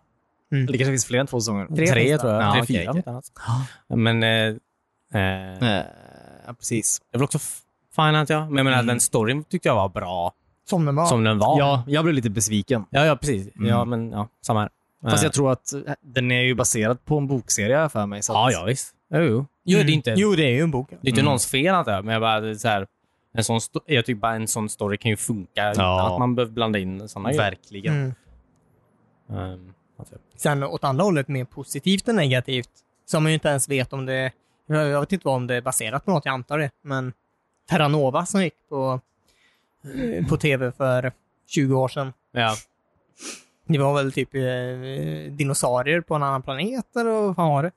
D: Mm.
E: Det kanske finns fler än två säsonger.
D: Tre finns
B: tror jag.
E: Ja,
B: Tre,
E: okej,
B: fyra.
E: okej.
B: om inte annat. Men... eh, eh,
E: Eh, Ja, precis.
B: Det är väl också f- fine, antar jag. Men jag menar,
E: Mm.
B: den storyn tyckte jag var bra
D: Som den var?
B: som den var.
E: Ja, jag blev lite besviken.
B: ja, ja precis.
E: Mm.
B: Ja, men ja, samma här.
E: Fast
B: Eh,
E: jag tror att eh, den är ju baserad på en bokserie har jag för mig. Så
B: Ja,
E: att-
B: ja, visst. Jo, jo. jo det är inte,
D: Jo, det är ju en bok.
B: det är inte
E: Mm.
B: någons fel, antar jag. Men jag bara, det är så här, en sån sto- jag tycker bara en sån story kan ju funka utan
E: Ja.
B: att man behöver blanda in såna grejer.
E: Verkligen.
D: Mm.
B: Ehm,
D: Sen åt andra hållet, mer positivt än negativt, som man ju inte ens vet om det... Jag vet inte vad om det är baserat på något, jag antar det, men Terranova som gick på, eh, på tv för 20 år sedan.
B: Ja.
D: Det var väl typ eh, dinosaurier på en annan planet, eller vad fan var det?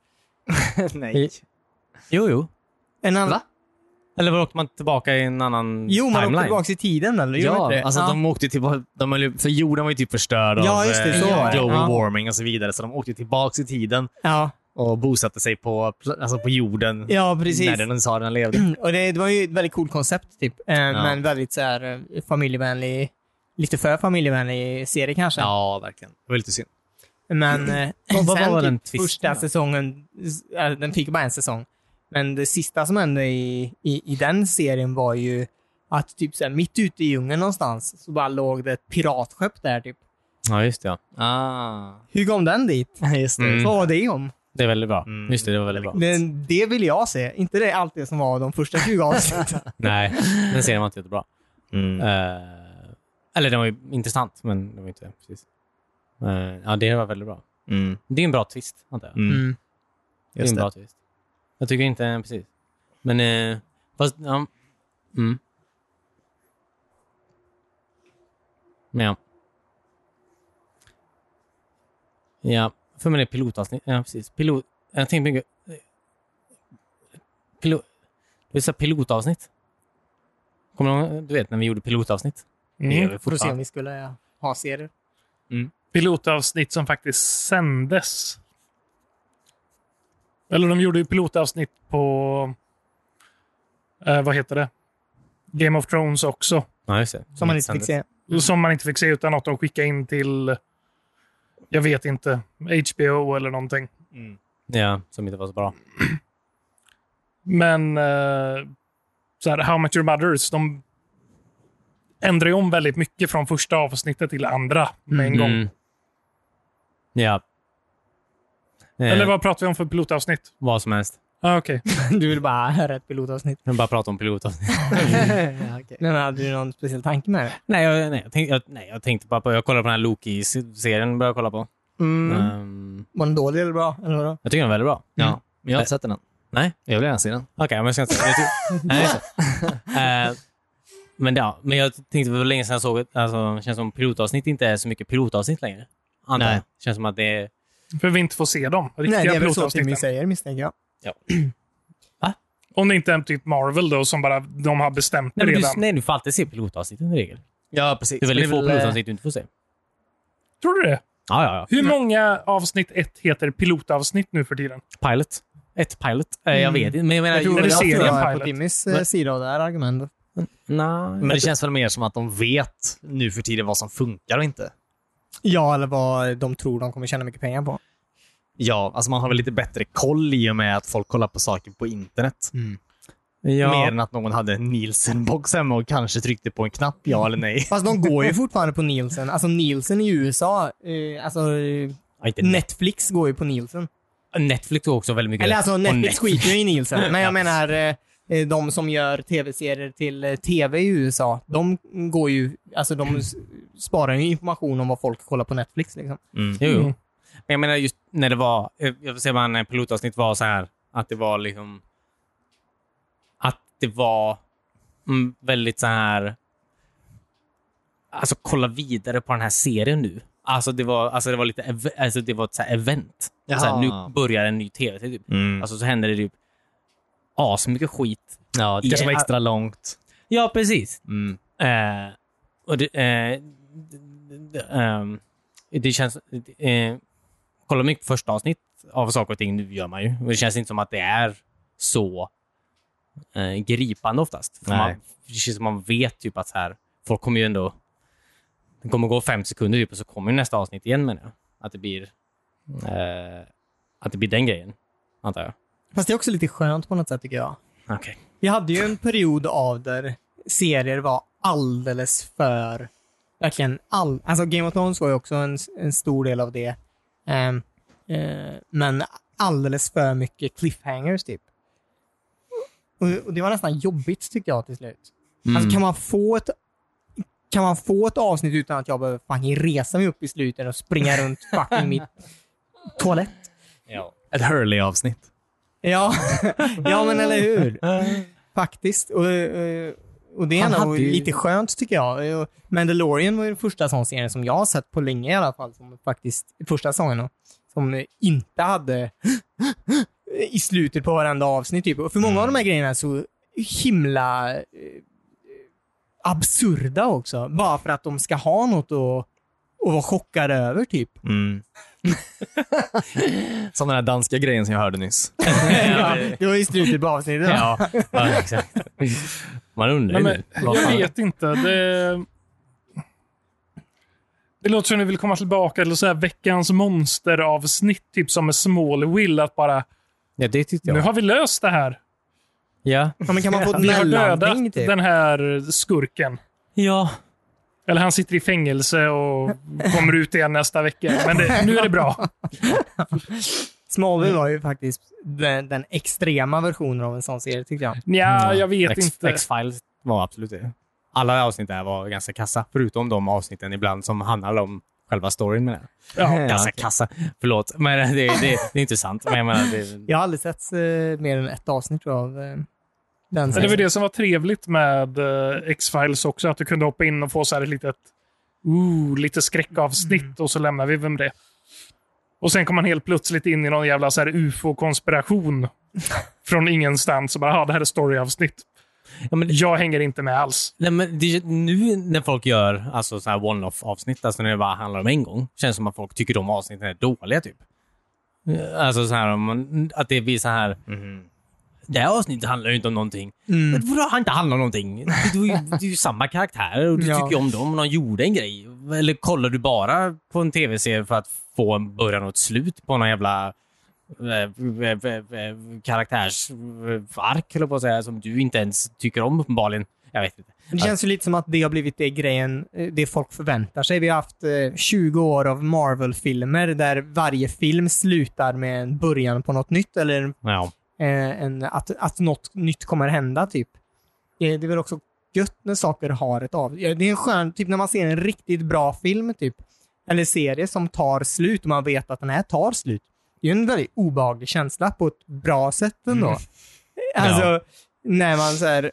A: Mm.
E: <laughs> Nej.
B: Jo, jo.
D: En annan...
B: Va? Eller var åkte man tillbaka i en annan
D: Jo, man åkte
B: timeline?
D: tillbaka i tiden, eller? Gjorde man
B: Ja,
D: inte det?
B: alltså de åkte tillbaka, de, höll ju- för jorden var ju typ förstörd
D: Ja,
B: av
D: just det,
B: eh,
D: så var det.
B: global
D: Ja.
B: warming och så vidare. Så de åkte tillbaka i tiden
D: ja.
B: och bosatte sig på, pl- alltså på jorden
D: ja, precis. Mm.
B: när dinosaurierna levde.
D: Och det, det var ju ett väldigt coolt koncept, typ. Eh, Men väldigt så här, eh, familjevänlig, lite för familjevänlig serie kanske.
B: Ja, verkligen. Det var lite synd.
D: Men eh,
B: <clears throat> Vad- vad
D: sen
B: var
D: typ
B: den twisten
D: första
B: då?
D: säsongen, s- äh, den fick bara en säsong. Men det sista som hände i, i, i den serien var ju att typ så här, mitt ute i djungeln någonstans så bara låg det ett piratskepp där typ.
B: Ja, just det. Ja. Ah.
D: Hur kom
B: <laughs>
D: den dit?
E: Just
B: Mm.
D: Vad var det om?
B: Det är väldigt bra.
E: Mm.
B: Just det, det var väldigt bra.
D: Men det vill jag se. Inte det allt det som var de första 20
B: <laughs>
D: avsnitten.
B: Nej, den serien var inte jättebra.
E: Mm.
B: Eh, eller den var ju intressant, men den var inte precis. Eh, ja, det var väldigt bra.
E: Mm.
B: Det är en bra twist, antar jag.
E: Mm.
D: Mm.
B: det är
E: Just
B: en
E: det.
B: bra twist. Jag tycker inte, precis. Men, eh, fast, ja. Mm. Men ja. Ja, för mig är det pilotavsnitt. Ja, precis. Pilot, jag tänkte mycket... Pilot, det är så här pilotavsnitt. Kommer du ihåg- du vet när vi gjorde pilotavsnitt? Det gör vi
C: Mm.
D: För att se om
B: fortfarande.
D: vi skulle ha serier.
C: Pilotavsnitt som faktiskt sändes. Eller de gjorde ju pilotavsnitt på... Eh, vad heter det? Game of Thrones också.
B: Ja, just det.
D: Som man inte fick se.
C: Som man inte fick se utan att de skickade in till... Jag vet inte. HBO eller någonting.
B: Ja, som inte var så bra.
C: Men eh, så här, How Much Your Mothers, de ändrar ju om väldigt mycket från första avsnittet till andra med en gång.
B: Mm. Ja. Eh,
C: Eller vad pratar vi om för pilotavsnitt?
B: vad som helst.
C: Ah,
D: <laughs>
C: okej.
D: Du vill bara höra ett pilotavsnitt.
B: Jag bara prata om pilotavsnitt.
D: Men hade du någon speciell tanke med det?
B: <laughs> nej, jag, nej, jag tänkte, jag, nej, jag tänkte bara på... Jag kollar på den här Loki-serien. Började jag kolla på.
D: Mm.
B: Ehm,
D: Var den dålig eller bra? Eller vadå?
B: jag tycker den är väldigt bra.
E: Mm.
B: Mm. Eh,
E: Ja, men jag har inte sett den än.
B: Nej?
E: Jag vill gärna se den.
B: Okej, men jag ska inte säga. Jag tyck-
E: <laughs>
B: nej, så. Eh, men, ja, men jag tänkte det var länge sedan jag såg... ett- Alltså, det känns som pilotavsnitt inte är så mycket pilotavsnitt längre. Antar
E: Nej.
B: jag. Det känns som att det är...
C: För vi inte får se dem. Riktiga
D: Nej, det är väl så Timmy
C: pilotavsnitten.
D: säger misstänker jag.
C: Om det inte är typ Marvel då, som bara de har bestämt
B: Nej, men du,
C: redan.
B: nej, du får alltid se pilotavsnitten i regel.
E: Ja, precis.
B: Det är väldigt
E: Men
B: få
E: väl, eh,
B: pilotavsnitt du inte får se.
C: Tror du det?
B: Ja, ja, ja.
C: Hur många avsnitt ett heter pilotavsnitt nu för tiden?
B: Pilot. Ett pilot. Eh,
E: Mm.
B: Jag vet inte, men jag menar...
D: Jag tror
C: är det
D: väl att
C: serien
D: jag är
C: pilot?
D: på Timmys eh, sida av det här argumentet.
B: Nej.
E: Men det känns väl mer som att de vet nu för tiden vad som funkar och inte.
D: Ja, eller vad de tror de kommer tjäna mycket pengar på.
E: Ja, alltså man har väl lite bättre koll i och med att folk kollar på saker på internet.
B: ja.
E: Mer än att någon hade en Nielsen-box hemma och kanske tryckte på en knapp, ja eller nej.
D: Fast de <laughs> går ju fortfarande på Nielsen. Alltså Nielsen i USA, eh, alltså eh,
B: Ja, inte Net-
D: Netflix går ju på Nielsen.
B: Netflix tog också väldigt mycket.
D: Eller alltså
B: Och
D: Netflix skiter ju i Nielsen. Men <laughs>
B: Ja.
D: jag menar eh, eh, de som gör tv-serier till eh, tv i USA, de går ju, alltså de s- sparar ju information om vad folk kollar på Netflix liksom.
E: Mm.
B: Jo, jo. Men jag menar just när det var, eh, jag vill säga bara när pilotavsnitt var så här, att det var liksom, att det var mm, väldigt så här, alltså kolla vidare på den här serien nu. Alltså det var, alltså det var lite, ev- alltså det var ett så här event. Så här,
E: Jaha. Mm.
B: nu börjar en ny tv typ. Alltså så hände det typ asmycket skit.
E: Ja, det
B: I-
E: kanske var extra långt.
B: Ja, precis.
E: Mm.
B: Eh, och det, eh, d- d- d- ehm, det känns... Eh, kolla mycket på första avsnitt av saker och ting, nu gör man ju. Och det känns inte som att det är så eh, gripande oftast. För
E: Nej.
B: man, det känns som man vet typ att så här, folk kommer ju ändå... Det kommer gå fem sekunder typ, och så kommer ju nästa avsnitt igen menar jag. Att det blir, eh, att det blir den grejen, antar jag.
D: Fast det är också lite skönt på något sätt tycker jag.
B: Okej.
D: Vi hade ju en period av där serier var alldeles för... Verkligen all... Alltså Game of Thrones var ju också en, en stor del av det. Ehm, eh, men alldeles för mycket cliffhangers typ. Och, och det var nästan jobbigt tycker jag till slut. Alltså kan man få ett kan man få ett avsnitt utan att jag behöver fucking resa mig upp i slutet och springa runt fucking mitt toalett?
B: Ja.
A: Ett Hurley-avsnitt.
B: <laughs>
D: Ja, ja men eller hur? Faktiskt. Och, eh, och det
E: Han
D: är nog
E: hade ju-
D: lite skönt tycker jag. Eh, Mandalorian var ju den första sån serien som jag har sett på länge i alla fall, som faktiskt, första säsongen då, som eh, inte hade <gasps> i slutet på varenda avsnitt typ. Och för många av de här
B: Mm.
D: grejerna är så himla eh, absurda också. Bara för att de ska ha något att, att vara chockade över typ.
E: <laughs>
A: Mm. Som den här danska grejen som jag hörde nyss.
D: ja, <laughs> det var i slutet på avsnittet. va?
B: Ja, ja exakt. Man undrar
C: Nej,
B: ju
C: men,
B: nu. Vad
C: jag
B: fan-
C: vet inte. Det, det låter som att ni vill komma tillbaka till så här veckans monsteravsnitt, typ som med Smallville. Att bara,
B: Ja, det tyckte
C: nu
B: jag.
C: har vi löst det här.
B: Ja.
D: Ja, men kan man få
B: <laughs>
D: ett
C: Vi har dödat
D: mellanting typ?
C: den här skurken.
B: Ja.
C: Eller han sitter i fängelse
D: <laughs>
C: och kommer ut igen nästa vecka. Men det, nu är det bra.
D: Smallville
C: Mm.
D: var ju faktiskt den, den extrema versionen av en sån serie tyckte jag.
C: Nja, jag vet
B: X,
C: inte.
B: X-Files var absolut det. Alla avsnitt där var ganska kassa, förutom de avsnitten ibland som handlade om själva storyn med det.
C: Ja.
B: Ganska kassa. Förlåt, men det, det, det är inte sant. Men jag menar, det,
D: Jag har aldrig sett eh, mer än ett avsnitt tror jag, av eh, den
C: Men det var
D: serien.
C: det som var trevligt med eh, X-Files också, att du kunde hoppa in och få så här ett litet ooh, lite skräckavsnitt och så lämnar vi vem det. Och sen kom man helt plötsligt in i någon jävla så här ufo-konspiration från ingenstans och bara, "Aha, det här är storyavsnitt.
B: <laughs> ja, men,
C: Jag hänger inte med alls.
B: nej, men det, nu när folk gör alltså, så här one-off avsnitt, alltså när det bara handlar om en gång, känns det som att folk tycker de avsnitten är dåliga. typ. Alltså så här, om man- att det blir så här. Det här avsnittet handlar ju inte om någonting.
D: Mm.
B: Men Vadå har inte handlat om någonting? Det, det, är
D: <laughs>
B: ju- det är ju samma karaktärer och du
D: Ja.
B: tycker ju om dem och de gjorde en grej. Eller kollar du bara på en tv-serie för att få en början och ett slut på någon jävla eh, karaktärsark, eh, eller på att säga, som du inte ens tycker om uppenbarligen. Jag vet inte.
D: Det känns ju lite som att det har blivit det grejen, eh, det folk förväntar sig. Vi har haft eh, 20 år av Marvel-filmer där varje film slutar med en början på något nytt eller en,
B: Ja.
D: eh, en, att, att något nytt kommer hända typ. Det, det är väl också gött när saker har ett av... ja, Det är en skön, typ när man ser en riktigt bra film typ. eller serie som tar slut och man vet att den här tar slut. Det är ju en väldigt obehaglig känsla på ett bra sätt ändå. <laughs> Alltså, när man säger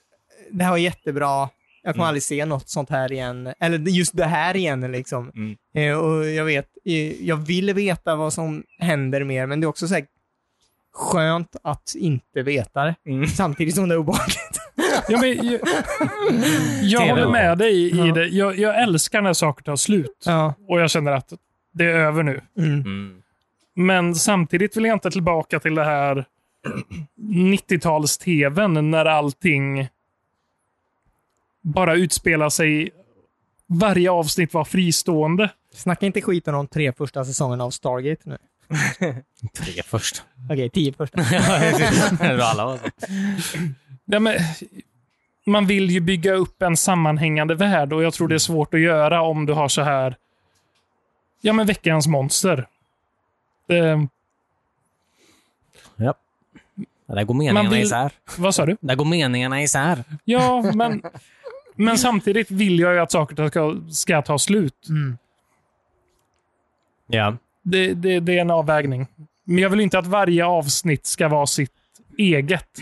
D: det här var jättebra, jag kommer aldrig se något sånt här igen. Eller just det här igen liksom.
A: Mm.
D: Eh, och jag vet, eh, jag vill veta vad som händer mer, men det är också så här skönt att inte veta det. Samtidigt som det är obehagligt.
C: Ja, men, jag jag håller med dig i
D: Ja.
C: det. Jag, jag älskar när saker tar slut
D: Ja.
C: och jag känner att det är över nu.
D: Mm.
C: Men samtidigt vill jag inte tillbaka till det här 90-tals-tvn när allting bara utspelar sig. Varje avsnitt var fristående.
D: Snacka inte skit om de tre första säsongerna av Stargate nu.
B: Tre först. <laughs>
D: Okej, tio första.
B: Mm. Alla var så.
C: Ja, men, man vill ju bygga upp en sammanhängande värld och jag tror det är svårt att göra om du har så här ja men veckans monster. Eh, Det,
B: Ja. Där går meningarna
C: vill-
B: isär.
C: vad sa du?
B: Där går meningarna isär.
C: Ja, men, men samtidigt vill jag ju att saker ska, ska ta slut.
D: Mm.
B: Ja.
C: Det, det, det är en avvägning. Men jag vill inte att varje avsnitt ska vara sitt eget.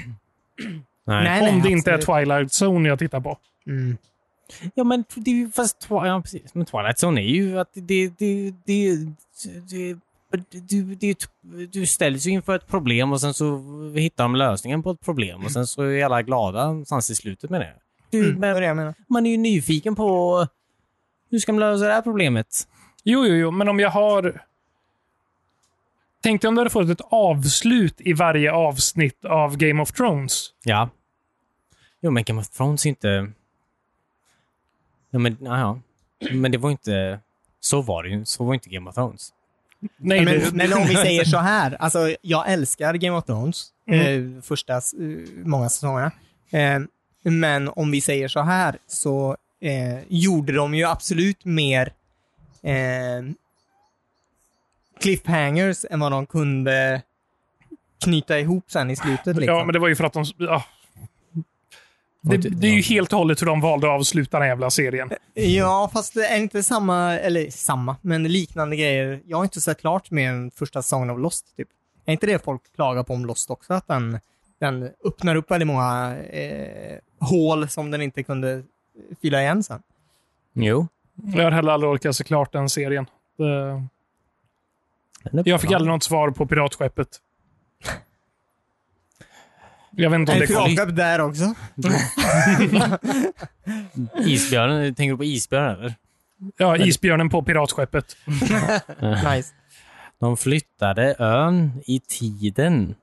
B: Nej.
C: om det inte är Twilight Zone jag tittar på.
D: Mm.
B: Ja, men det är ju fast Twi- ja, precis. Men Twilight Zone är ju att det... det, det, det du, det, typ- du ställs ju inför ett problem och sen så hittar de lösningen på ett problem och sen så är alla glada någonstans i slutet med det. Du,
D: Mm. Det är
B: men,
D: det jag menar.
B: man är ju nyfiken på hur ska man lösa det här problemet?
C: Jo, jo, jo, men om jag har... Tänk dig om du hade fått ett avslut i varje avsnitt av Game of Thrones.
B: Ja. Jo, men Game of Thrones är inte... Ja, men, ja, ja. men det var ju inte... Så var det ju. Så var ju inte Game of Thrones.
C: Nej,
D: men,
C: det,
D: men om vi säger så här, alltså jag älskar Game of Thrones, eh, första eh, många säsongerna. Eh, men om vi säger så här så eh, gjorde de ju absolut mer eh, cliffhangers än vad de kunde knyta ihop sen i slutet. Liksom.
C: ja, men det var ju för att de... Ja. Det, det är ju helt och hållet hur de valde att avsluta den jävla serien.
D: Ja, fast det är inte samma, eller samma, men liknande grejer. Jag har inte sett klart med den första säsongen av Lost, typ. Är inte det folk klagar på om Lost också? Att den, den öppnar upp väldigt många eh, hål som den inte kunde fylla igen sen.
B: Jo.
C: Jag har heller aldrig orkat se klart den serien. Det-
B: Den är
C: Jag fick
B: bra.
C: aldrig något svar på Piratskeppet. Jag vet inte om
D: Är
C: det
D: det
C: kom.
D: piratskepp där också?
B: Isbjörnen, tänker du på isbjörnar eller?
C: Ja, isbjörnen på Piratskeppet.
D: Nice.
B: De flyttade ön i tiden.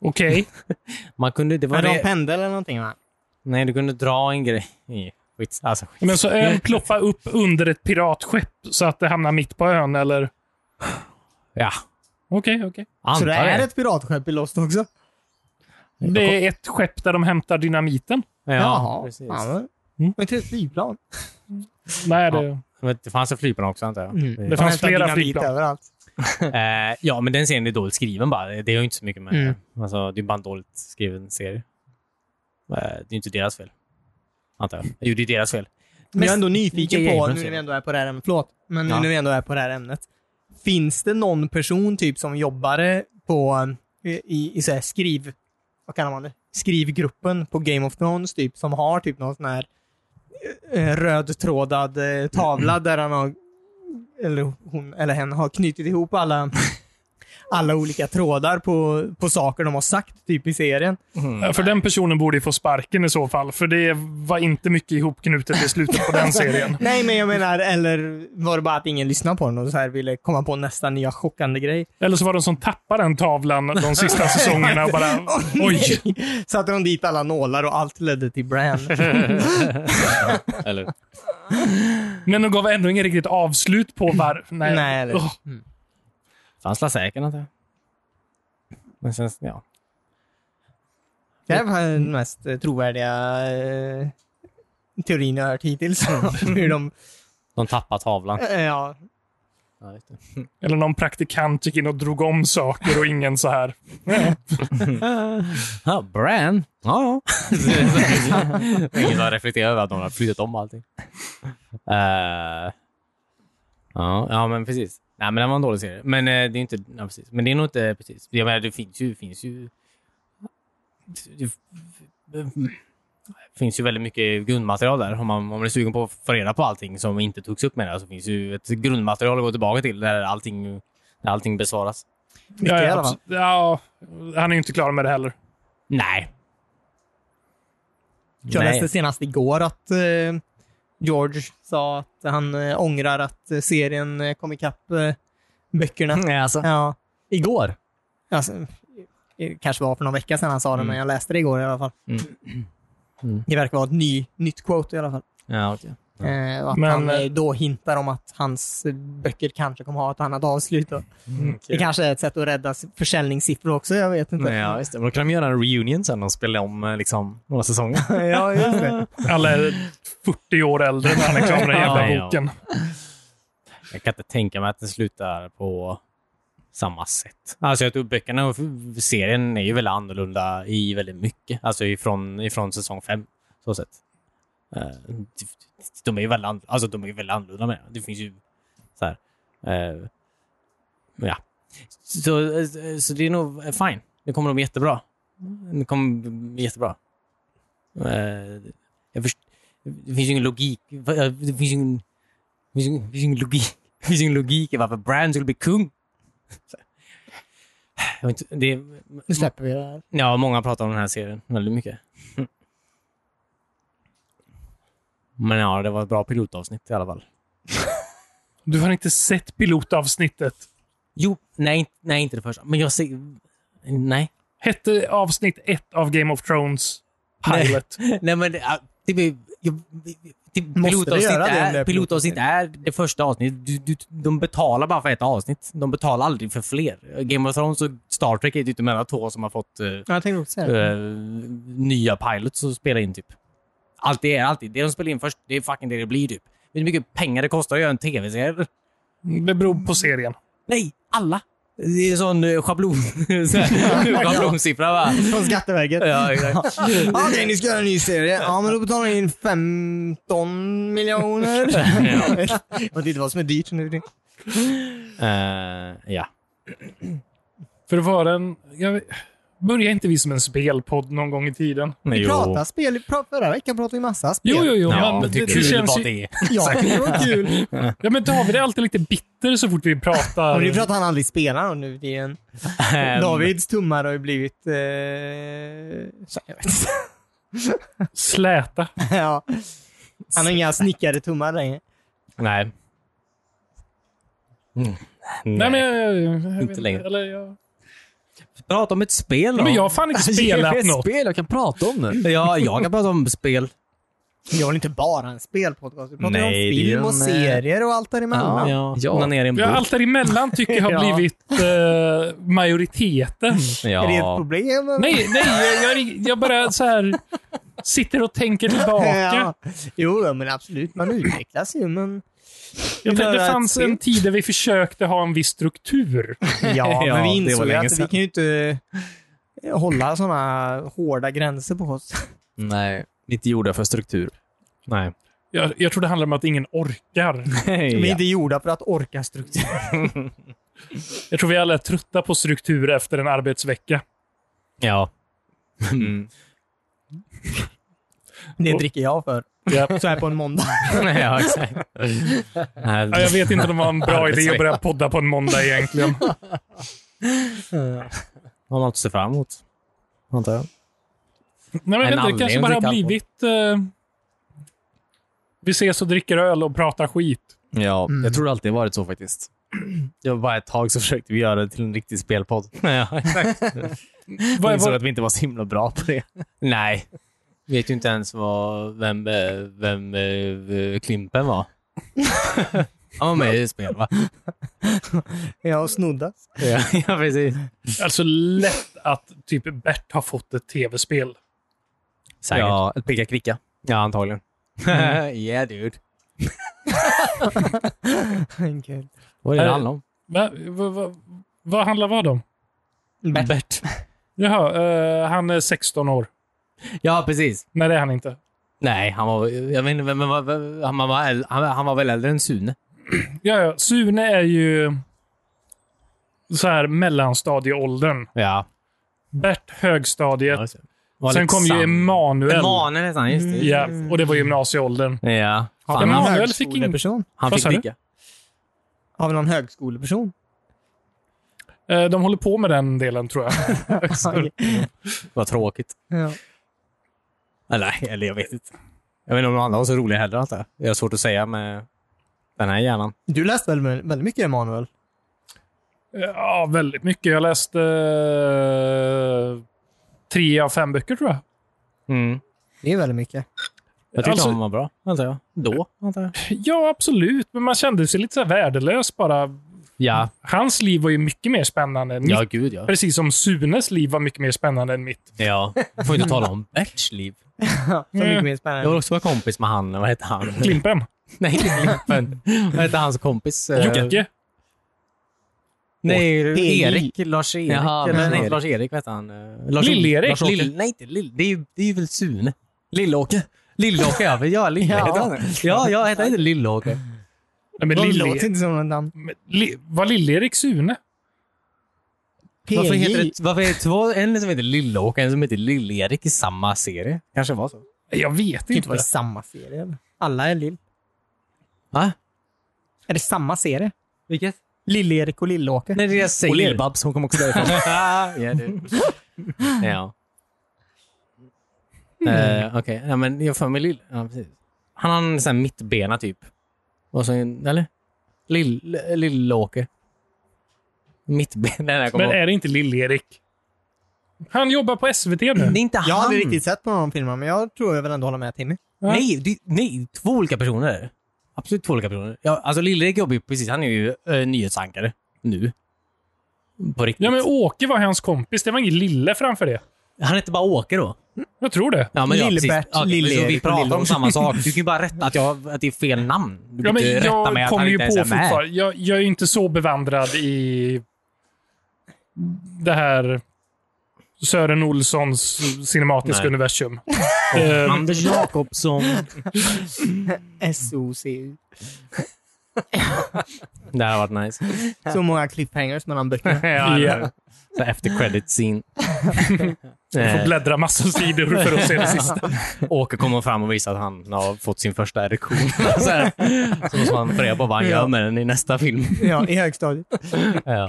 C: Okej.
B: Man kunde, det var
D: Men de
B: det,
D: pendlar eller någonting, va?
B: nej, du kunde dra en grej. i- Skits, alltså, skits.
C: Men så ön ploppar upp under ett piratskepp så att det hamnar mitt på ön, eller?
B: ja,
C: Okej, okej.
D: Så
B: antar
D: det är
B: det.
D: ett piratskepp i Lost också?
C: Det är ett skepp där de hämtar dynamiten.
B: Ja, precis.
D: Ja, men-
C: Mm.
D: men inte ett flygplan.
C: Nej, det...
B: Men det fanns en flygplan också antar jag.
C: Det
D: De
C: fanns
D: hämtar
C: flera
D: dynamit
C: flygplan.
D: överallt.
B: Eh, ja, men den serien är dåligt skriven bara. Det är ju inte så mycket med...
D: Mm.
B: Alltså, det är bara en dåligt skriven serie. Eh, det är ju inte deras fel. Antar jag. Jo, det är deras fel.
D: Men jag är ändå nyfiken
B: Det är
D: på,
B: egen
D: nu när vi
B: serie.
D: ändå är på det här ämnet, förlåt, men nu
B: Ja.
D: när vi ändå är på det här ämnet. Finns det någon person typ som jobbade på, i, i, i så här skriv, vad kallar man det? Skrivgruppen på Game of Thrones typ, som har typ någon sån här eh, rödtrådad eh, tavla där han har, eller hon eller hen har knutit ihop alla alla olika trådar på, på saker de har sagt typ i serien.
C: Ja, För den personen borde ju få sparken i så fall, för det var inte mycket ihopknutet i slutet på den serien.
D: Nej, men jag menar, eller var det bara att ingen lyssnade på den och så här ville komma på nästa nya chockande grej?
C: Eller så var de som tappade den tavlan de sista säsongerna och bara oj.
D: <laughs> Satte de dit alla nålar och allt ledde till Bran.
C: <laughs>
B: Eller?
C: Men de gav ändå inget riktigt avslut på
D: <laughs>
C: varför. Nej.
D: Nej, eller-
C: Åh,
B: Fanns la säkert antar jag. Men sen, ja.
D: Det här var den mest eh, trovärdiga eh, teorin jag har hört hittills.
C: Mm.
D: <laughs> Hur de,
B: De tappade tavlan.
D: eh, ja,
B: Ja, just det.
C: Eller någon praktikant gick in och drog om saker och ingen så här.
B: Ja, Bran. <laughs> Ja, ja. Ingen som har reflekterat över att de har flyttat om allting. Eh, ja, ja, men precis. Nej, men det var en dålig serie. Men eh, det är inte... Ja, precis. Men det är nog inte... Precis. Jag menar, det finns ju... Finns ju det finns ju väldigt mycket grundmaterial där. Om man, om man är sugen på att få reda på allting som inte togs upp med det här, så finns ju ett grundmaterial att gå tillbaka till där allting, där allting besvaras.
D: mycket
C: ja,
D: i
C: ja,
D: alla fall.
C: abs- ja, han är ju inte klar med det heller.
B: Nej.
D: Jag
B: Nej.
D: läste senast igår att eh, George sa att han eh, ångrar att eh, serien eh, kom ikapp eh, böckerna.
E: Nej, alltså.
D: Ja,
E: Igår.
D: alltså, eh, kanske var för någon vecka sedan han sa det, men jag läste det igår i alla fall.
B: Mm. Mm.
D: Det verkar vara ett ny, nytt quote i alla fall.
B: Ja, okej.
D: Eh, och att
C: Men,
D: han eh,
C: eh,
D: då hintar om att hans eh, böcker kanske kommer ha ett annat avslut. Då. Det kanske är ett sätt att rädda s- försäljningssiffror också, jag vet inte.
E: Nej, ja, just det. Men då kan de göra en reunion sen och spela om eh, liksom, några <laughs> säsonger.
D: ja, just det.
C: Alla är 40 år äldre när han är klar med den
B: Ja,
C: jävla
B: ja.
C: boken.
B: Jag kan inte tänka mig att den slutar på samma sätt. Alltså jag tror böckerna och f- serien är ju väldigt annorlunda i väldigt mycket. Alltså ifrån, ifrån säsong fem. Så sett. Eh, De är ju väldigt, an- alltså de är ju väldigt annorlunda med det. Det finns ju så här. eh, Ja. Så, så det är nog eh, fine. Det kommer de jättebra. Det kommer bli jättebra. Eh, Jag först- det finns ju ingen logik. eh, Det finns ju ingen det finns ju- det finns ju ingen logik. Det finns ju ingen logik i varför Bran skulle bli kung. Så. Jag vet inte, det,
D: Nu släpper vi det här.
B: ja, många pratar om den här serien väldigt mycket. Men ja, det var ett bra pilotavsnitt i alla fall.
C: Du har inte sett pilotavsnittet.
B: Jo, nej, inte- nej inte det första. Men jag ser... Nej.
C: Hette avsnitt ett av Game of Thrones Pilot.
B: Nej, men det, ja, det, blir- jag- det,
D: det
B: pilotavsnitt,
D: göra det om det
B: är,
D: är
B: pilotavsnitt är det första avsnittet. Du, du, de betalar bara för ett avsnitt. De betalar aldrig för fler. Game of Thrones och Star Trek är ju typ de enda två som har fått eh,
D: Ja, Jag tänkte också säga det.
B: eh, nya pilots som spelar in typ. Allt det är alltid det de spelar in först, det är fucking det det blir typ. Vet du hur mycket pengar det kostar att göra en tv-serie?
C: Det beror på serien.
B: Nej, alla! Det är sån eh, schablon... <laughs> så här, Schablonsiffra va?
D: Från Skatteverket.
B: Ja,
C: <laughs>
B: exakt.
D: Ja, Okej, ni ska göra en ny serie. Ja, men då betalar ni in 15 miljoner. Jag vet inte vad som är dyrt nu. Det
B: Eh, ja.
C: För det var en... Jag, vet- började inte vi som en spelpodd någon gång i tiden?
B: Men jo.
D: pratar spel. i- pra- Förra veckan pratade vi massa spel.
C: Jo, jo, jo.
B: Ja,
C: men
B: det,
C: det,
B: kul
C: det känns
B: vad
C: ju,
B: det är.
D: Ja, det var kul.
C: ja, men David är alltid lite bitter så fort vi
D: Ja,
C: pratar.
D: men det är för att han aldrig spelar och nu blir en...
B: Ehm,
D: Davids tummar har ju blivit... Eh... Så, jag vet inte. <laughs>
C: Släta.
D: ja. Han har inga snickade tummar längre.
B: Nej. Mm. Nej.
C: Nej, men jag, jag, jag, vet
B: längre.
C: Eller jag,
E: Prata om ett spel då.
C: men jag har fan
D: <laughs>
C: inte
B: <laughs>
C: spelat något.
E: spel jag kan prata om nu. Ja, jag kan prata om spel.
D: Jag vill inte bara en spelpodcast. Vi pratar ju om
B: Nej, det är
D: film och
B: en, eh,
D: serier och allt
B: Ja,
D: däremellan. Ja,
B: ja.
E: Ja.
B: Onanera i en
C: Ja,
B: bok.
C: allt däremellan tycker jag har
D: <laughs> Ja.
C: blivit eh, majoriteten.
B: Ja.
D: Är det ett problem?
C: Nej, nej, jag, jag, jag bara så här sitter och tänker tillbaka.
D: Ja. Jo, ja, men absolut. Man utvecklas ju, men...
C: Jag
D: Vill
C: tänkte,
D: du
C: det
D: höra
C: fanns
D: ett spel?
C: en tid där vi försökte ha en viss struktur.
D: Ja,
E: Ja,
D: men vi
E: det var
D: insåg ju
E: länge
D: att vi
E: sedan.
D: kan ju inte eh, hålla sådana hårda gränser på oss.
E: Nej, inte gjorda för <laughs> struktur.
B: Nej.
C: Jag, jag tror det handlar om att ingen orkar.
D: Vi är inte gjorda för att orka struktur.
C: Jag tror vi alla är trötta på struktur efter en arbetsvecka.
B: Ja. <laughs>
D: Det dricker jag för.
C: Ja.
D: <laughs> Så här på en måndag.
B: ja, exakt. Nej,
C: Ja, jag vet inte om det
B: <laughs>
C: var en bra idé att
B: Arbetsvecka.
C: börja podda på en måndag egentligen.
B: har något att se fram emot. Antar jag.
C: Nej, men
B: En
C: jag vet inte, det kanske
B: anledning
C: bara
B: att
C: har
B: dricka
C: blivit... eh, vi ses och dricker öl och pratar skit.
A: Ja, jag tror det alltid varit så faktiskt. <clears throat> Det var bara ett tag så försökte vi göra det till en riktig <laughs> spelpodd.
B: Ja, exakt.
A: Vi
C: Vad,
A: insåg
C: vad,
A: att vi inte var så himla bra på <laughs> det.
B: Nej. Vet ju inte ens vad, vem, eh, vem eh, Klimpen var. Han var med i spel, va?
D: Ja, och snoddas.
B: <laughs> Ja, precis.
C: alltså lätt att typ Bert har fått ett tv-spel.
B: Säkert. Ja,
E: Ja, ett picka kricka.
B: antagligen. <laughs> yeah, dude.
D: Enkelt.
B: Vad är det
C: Eh,
B: det handlar om?
C: Va, va, va, vad handlar vad om?
D: Bert.
C: Jaha, eh, han är 16 år.
B: Ja, precis.
C: Nej, det är han inte.
B: Nej, han var, jag vet inte, vem var, vem- han, var, äl- han, han var väl äldre än Sune?
C: Ja, ja. Sune är ju så här mellanstadieåldern.
B: Ja.
C: Bert högstadiet.
B: Var
C: Sen
B: lite
C: kom ju
B: sam-
C: Emanuel. Mm,
B: Emanuel hette han, just det.
C: Ja, och det var gymnasieåldern.
B: Ja.
C: Ja,
B: Fan,
C: men
B: han,
C: han- Manuel fick in-
D: högskoleperson?
B: han
C: Vad
B: fick
C: sa du?
B: dricka.
D: Har vi någon högskoleperson?
C: Eh, De håller på med den delen, tror jag. <laughs>
A: <laughs>
B: Vad tråkigt.
D: ja.
B: Eller, eller jag vet inte. Jag vet inte om någon annan var så rolig heller. antar jag. Det är svårt att säga med den här hjärnan.
D: Du läste väl väldigt mycket Emanuel?
C: Eh, Ja, väldigt mycket. Jag läste eh, tre av fem böcker, tror jag.
B: Mm.
D: Det är väldigt mycket.
B: Jag tyckte
C: Alltså-
B: han var bra, antar jag. Då, antar jag.
C: Ja, absolut. Men man kände sig lite så här värdelös bara.
B: Ja,
C: Hans liv var ju mycket mer spännande än
B: ja
C: mitt.
B: gud ja.
C: Precis som Sunes liv var mycket mer spännande
B: <laughs>
C: än mitt.
B: ja. Får inte tala om Berts liv.
D: Ja, så mycket mer
B: Jag
D: spännande.
B: vill också vara kompis med han. Vad hette han?
C: Klimpen.
B: <laughs> Nej, inte Limpen. Vad hette hans kompis? Eh,
C: Jocke.
B: Nej,
D: PJ.
B: Erik. Lars-Erik.
E: Jaha,
B: eller nej,
E: Lars-Erik.
B: Lars-Erik vad hette han? Eh, Lars-
C: Lill-Erik.
B: Lars-Åke.
C: Lill-
B: nej, inte Lill. Det är ju, det är ju väl Sune. Lill-Åke. Lill-Åke, ja. men <laughs> Ja, Lill-Åke.
D: Ja.
B: ja. ja, jag heter inte Lill-Åke.
C: Nej, men
D: Det
C: Lill-
D: låter inte som något namn.
C: men Li- var Lill-Erik Sune?
B: Varför
D: PJ.
B: heter, det, varför är det två, en som heter Lill-Åke och en som heter Lill-Erik i samma serie? Kanske var så.
C: Jag vet
B: Typ
D: Det kan inte
C: inte.
D: vara i samma serie. eller? Alla är lill.
B: Va?
D: Är det samma serie?
B: Vilket?
D: Lill-Erik och Lill-Åke?
B: Nej, det jag säger.
E: Och Lill-Babs, hon kom
A: <laughs>
E: också därifrån.
B: <laughs> ja, du. <laughs> ja. Eh, Okej, ja, men jag har för mig Lill... Ja, precis. Han har en sån här mittbena typ. Och så en, eller? Lill- Lill-Åke. Mittbena. <laughs> Den här kommer
C: Men
B: ihåg.
C: är det inte Lill-Erik? Han jobbar på SVT nu.
B: eh, Det är inte
D: Jag har
B: han.
D: aldrig riktigt sett på någon film, men jag tror jag vill ändå hålla med Timmy.
B: Nej, det, nej, två olika personer. Absolut två olika personer. Ja, alltså Lill-Erik jobbar ju precis. Han är ju eh, nyhetsankare nu. På riktigt.
C: Ja, men Åke var hans kompis. Det var ingen Lille framför det.
B: Han heter bara Åke då.
C: Jag tror det.
B: Ja, men ja, precis.
D: Lill-Bert,
B: Okej, men så
D: Lill-Erik
B: Vi
D: och
B: pratar om
D: Lill-Åke.
B: samma sak. Du kan ju bara rätta att, jag, att det är fel namn. Du
C: Ja,
B: kan
C: men
B: inte rätta mig
C: jag
B: att han
C: kommer ju
B: inte
C: på
B: ens är med.
C: fortfarande. Jag, jag är ju inte så bevandrad i det här Sören Olssons cinematiska
B: Nej.
C: universum. Eh,
B: Anders Jakobsson.
D: SOCU.
B: Det här har varit nice.
D: Så många cliffhangers mellan
B: <laughs>
D: böckerna. <laughs>
B: ja,
C: Ja.
B: Så efter credit
C: <laughs>
B: scene.
C: Du får
B: Eh,
C: bläddra massa sidor för att se
B: <laughs>
C: det sista.
B: Åke kommer fram och visar att han har fått sin första erektion. <laughs> så, här. så måste man fundera på vad han gör med den i nästa film.
D: ja, i högstadiet.
B: Ja.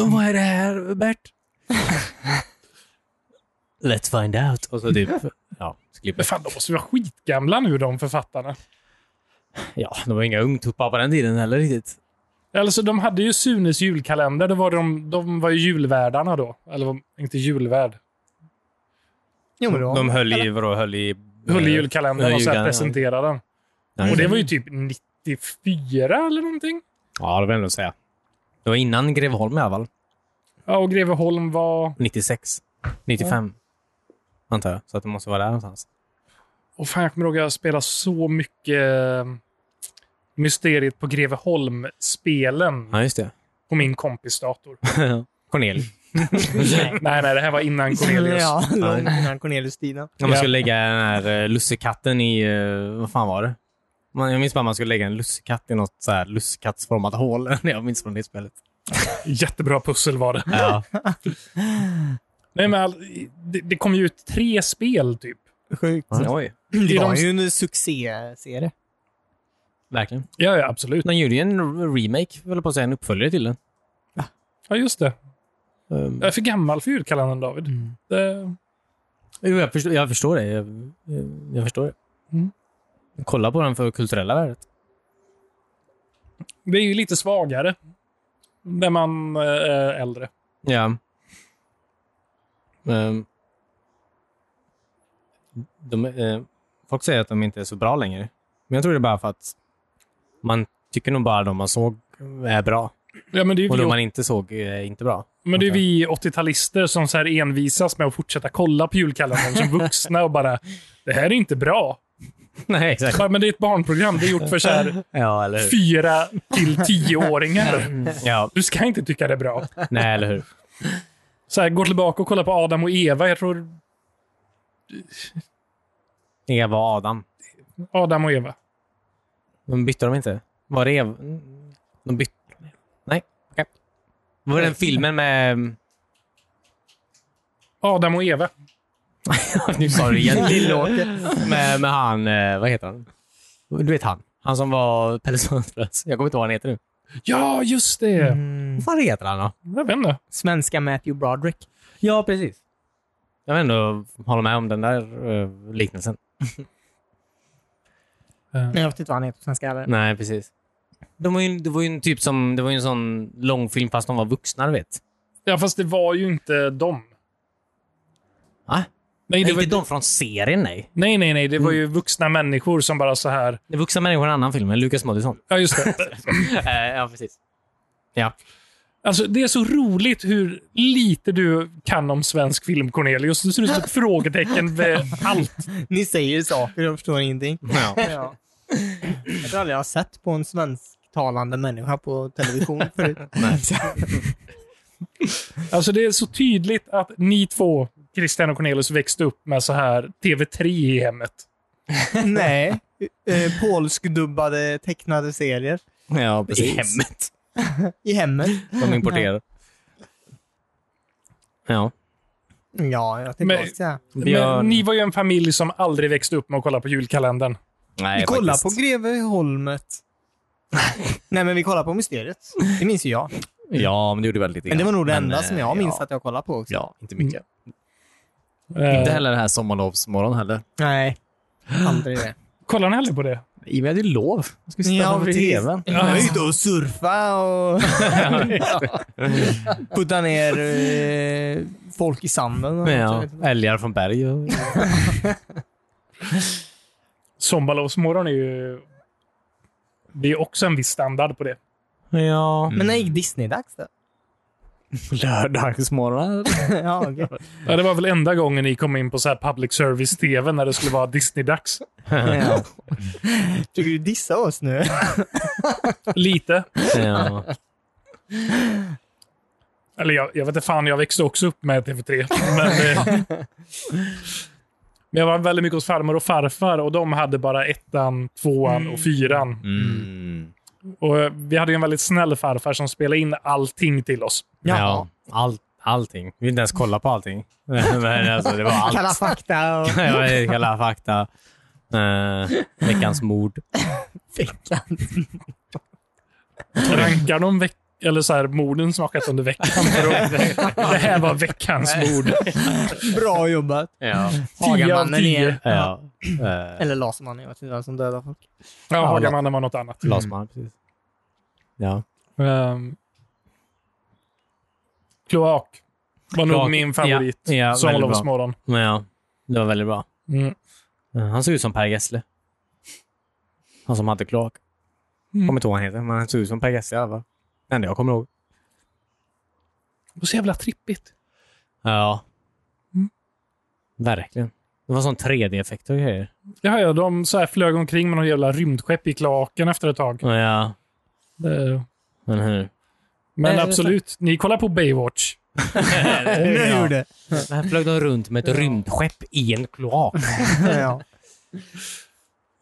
B: oh, vad är det här, Bert? Let's find out. Och så typ, ja, så
C: Men
B: klipper.
C: fan, de måste vara skitgamla nu, de författarna.
B: Ja, det var inga ungtuppar på den tiden heller riktigt.
C: Alltså, de hade ju Sunes julkalender. Då var de, de var ju julvärdarna då. Eller var- inte julvärd.
D: Jo, men då.
B: De höll i, vadå, höll i... eh,
C: Höll i julkalendern och så här
B: Julkalendern.
C: presenterade den.
B: Ja,
C: Och det var ju typ 94 eller någonting.
B: Ja, det vill jag nog säga. Det var innan Greveholm i alla fall.
C: Ja, och Greveholm var...
B: 96. 95. Antar jag. Så att det måste vara där någonstans.
C: Och fan, jag kommer ihåg att jag spelade så mycket eh, Mysteriet på Greveholm-spelen
B: Ja, just det.
C: på min kompis dator.
B: Cornelius.
C: nej, nej, det här var innan Cornelius.
D: Ja, långt innan Cornelius-tiden.
B: När man
C: Ja.
B: skulle lägga den här eh, lussekatten i... eh, Vad fan var det? Man, jag minns bara att man skulle lägga en lussekatt i något så här lussekattsformat hål. <laughs> jag minns från det spelet.
C: Jättebra pussel var det.
B: <laughs> Ja.
C: Nej, men all, det, det kom ju ut tre spel typ.
D: Sjukt.
B: Oj.
D: Det
C: I
D: var
C: de-
D: ju en succéserie.
B: Verkligen.
C: Ja, ja absolut.
B: De gjorde ju en re- remake, höll jag på att säga, en uppföljare till den.
C: Ja, just det.
B: Um,
C: Jag är för gammal för julkalendern, David. Det,
B: jo, jag, förstår, jag förstår det. Jag, jag- jag förstår det.
C: Mm.
B: Kolla på den för kulturella värdet.
C: det är ju lite svagare när man eh, är äldre.
B: Ja. Um, de, eh, folk säger att de inte är så bra längre. Men jag tror det är bara för att man tycker nog bara de man såg är bra.
C: Ja, men det är
B: Och
C: ju
B: de
C: vi,
B: man inte såg är inte bra. <laughs>
C: men det är
B: Okej.
C: vi 80-talister som så här envisas med att fortsätta kolla på julkalendern som vuxna och bara “Det här är inte bra”.
B: Nej, exakt.
C: Bara, men det är ett barnprogram. Det är gjort för så här
B: Ja, eller hur?
C: fyra till tioåringar.
B: <laughs> Ja,
C: Du ska inte tycka det är bra.
B: nej, eller hur?
C: Så här, gå tillbaka och kolla på Adam och Eva. Jag tror
B: Eva och Adam.
C: Adam och Eva.
B: De bytte de inte? Var det Eva? De bytte? Nej, okej. Var det den filmen med...
C: Adam och Eva.
B: nu sa du det igen. med, med han... eh, Vad heter han? Du vet han. Han som var Pelle Sundslös. Jag kommer inte ihåg vad han heter nu.
C: Ja, just det.
B: Vad fan heter han då?
C: Jag vet inte.
D: Mm. Svenska Matthew Broderick.
B: Ja, precis. Jag vill ändå hålla med om den där eh, liknelsen.
D: Nej, jag vet inte vad han heter på svenska heller.
B: Nej, precis. De var ju, det var ju en typ som... Det var ju en sån långfilm fast de var vuxna, du vet.
C: Ja, fast det var ju inte dem.
B: Va?
C: Nej, Mm. det
B: Nej,
C: var,
B: inte de från serien, nej.
C: nej, nej, nej. Det var ju vuxna människor som bara så här.
B: Det är vuxna människor i en annan film, än Lukas <laughs> Moodysson.
C: Ja, just det.
B: Eh, ja, precis. Ja.
C: Alltså, det är så roligt hur lite du kan om svensk film, Cornelius. Du ser ut som ett frågetecken vid allt.
D: Ni säger saker och jag förstår ingenting.
B: ja.
D: <laughs> Ja. Jag tror aldrig jag har sett på en svensktalande människa på television förut.
C: Alltså, det är så tydligt att ni två, Christian och Cornelius, växte upp med så här TV3 i hemmet.
D: Nej. Eh, polskdubbade tecknade serier
B: ja, precis. I hemmet.
D: i hemmet.
B: De importerar. Ja.
D: Ja, jag tänkte
C: Men-
D: också säga.
B: Björn-
C: Men ni var ju en familj som aldrig växte upp med att kolla på julkalendern.
B: Nej,
D: Vi kollar på
B: faktiskt.
D: Greveholmet. Nej, men vi kollar på Mysteriet. Det minns ju jag.
B: Ja, men det gjorde väl lite
D: Men det var nog det
B: Men,
D: enda
B: eh,
D: som jag minns
B: ja.
D: att jag kollade på också.
B: Ja, inte mycket.
C: Eh,
A: Inte heller den här sommarlovsmorgonen heller.
D: Nej, aldrig det.
C: kollar ni aldrig på det?
A: I och med att det är lov. Jag ska sitta
D: Ja,
A: framför
D: precis.
A: tvn.
D: Jag var ute och surfa och putta ner eh, folk i sanden. Och
B: Ja, älgar från berg och...
C: Sommarlovsmorgon är ju... Det är också en viss standard på det.
B: Ja.
D: Men när gick Disney-dags då?
A: Lördagsmorgon.
D: ja, okej.
C: Ja, det var väl enda gången ni kom in på så här public service-tv när det skulle vara Disney-dags.
D: ja. Tycker du dissa oss nu?
C: Lite.
B: <laughs> Ja.
C: Eller jag, jag vet inte fan, jag växte också upp med TV3. Men, eh, men jag var väldigt mycket hos farmor och farfar och de hade bara ettan, tvåan och fyran.
A: Mm.
C: Och eh, vi hade ju en väldigt snäll farfar som spelade in allting till oss.
B: Ja. All, allting. Vi vill inte ens kolla på allting. <laughs> Men alltså, det var allt. <laughs>
D: Kalla fakta och
B: Ja, det är Kalla fakta. Eh, veckans mord.
D: veckan.
C: Rankar de veck eller så här, morden som har skett
B: <laughs>
C: under veckan. För de- det här var veckans mord.
D: Bra jobbat.
B: Ja.
D: Hagamannen
C: tio.
D: igen.
B: ja. Eh,
D: Eller Lasermannen, jag vet inte vem som dödar folk.
C: Ja, Hagamannen var något annat.
B: Laserman, precis. Ja.
C: Ehm, kloak var nog
B: Kloak.
C: min favorit.
B: Ja, ja, väldigt bra.
C: Sommarlovsmorgon.
B: Men ja, det var väldigt bra.
C: Mm.
B: Eh, Han såg ut som Per Gessle. Han som hade kloak. Kommer inte ihåg vad han heter, men han såg ut som Per Gessle i alla fall. Det enda jag kommer ihåg.
C: Och så jävla trippigt.
B: Ja. Mm. Verkligen. Det var sån 3D-effekt och grejer.
C: Ja, ja, de så här flög omkring med någon jävla rymdskepp i kloaken efter ett tag.
B: Ja,
C: Det-
B: men hur?
C: Men
B: Nej, det är
C: absolut, ni kollar
A: <laughs>
C: på Baywatch.
D: Nu gjorde.
B: Här flög de runt med ett rymdskepp i en kloak.
D: Ja.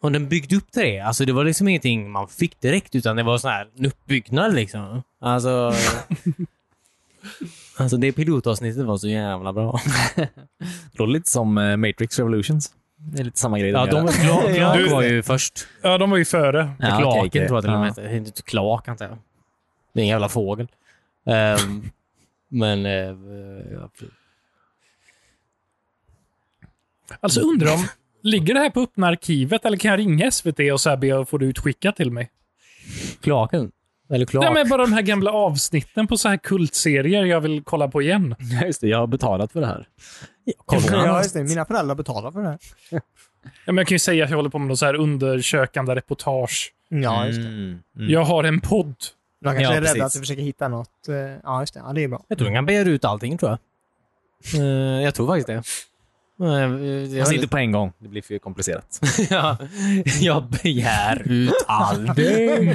B: Och den byggde upp till det. Alltså det var liksom ingenting man fick direkt, utan det var sån här en uppbyggnad liksom. <laughs> Alltså... alltså det pilotavsnittet var så jävla bra.
A: Det låter lite som eh, Matrix Revolutions. Det är lite samma grej.
B: <laughs> Ja, de, kloak, kloak var ju först.
C: <laughs> Ja, de var ju före.
A: Ja, okej,
B: klaken
A: okej.
B: tror jag till och med
A: Ja.
B: hette. Det är Inte klak antar jag. Det är en jävla fågel. Ehm, <laughs> men... eh, ja, precis.
C: Alltså undrar om, ligger det här på öppna arkivet eller kan jag ringa SVT och så här be att få det utskickat till mig?
B: klaken? Eller klak?
C: Nej, men bara de här gamla avsnitten på så här kultserier jag vill kolla på igen.
B: <laughs>
A: Ja, Just det, jag har betalat för det här.
B: Kolla.
D: Ja, just det. Mina föräldrar betalar för det. här.
C: Ja, men jag kan ju säga att jag håller på med någon så här undersökande reportage.
D: Ja, just det.
A: Mm.
C: Jag har en podd.
D: De kanske
A: Ja,
D: är
A: precis.
D: rädda att du försöker hitta något. eh, Ja, just det. Ja, det är bra.
B: Jag tror den kan begära ut allting, tror jag. Eh, jag tror faktiskt det. Uh,
A: Alltså inte på en gång. Det blir för komplicerat.
B: <laughs> Ja, jag begär ut allting.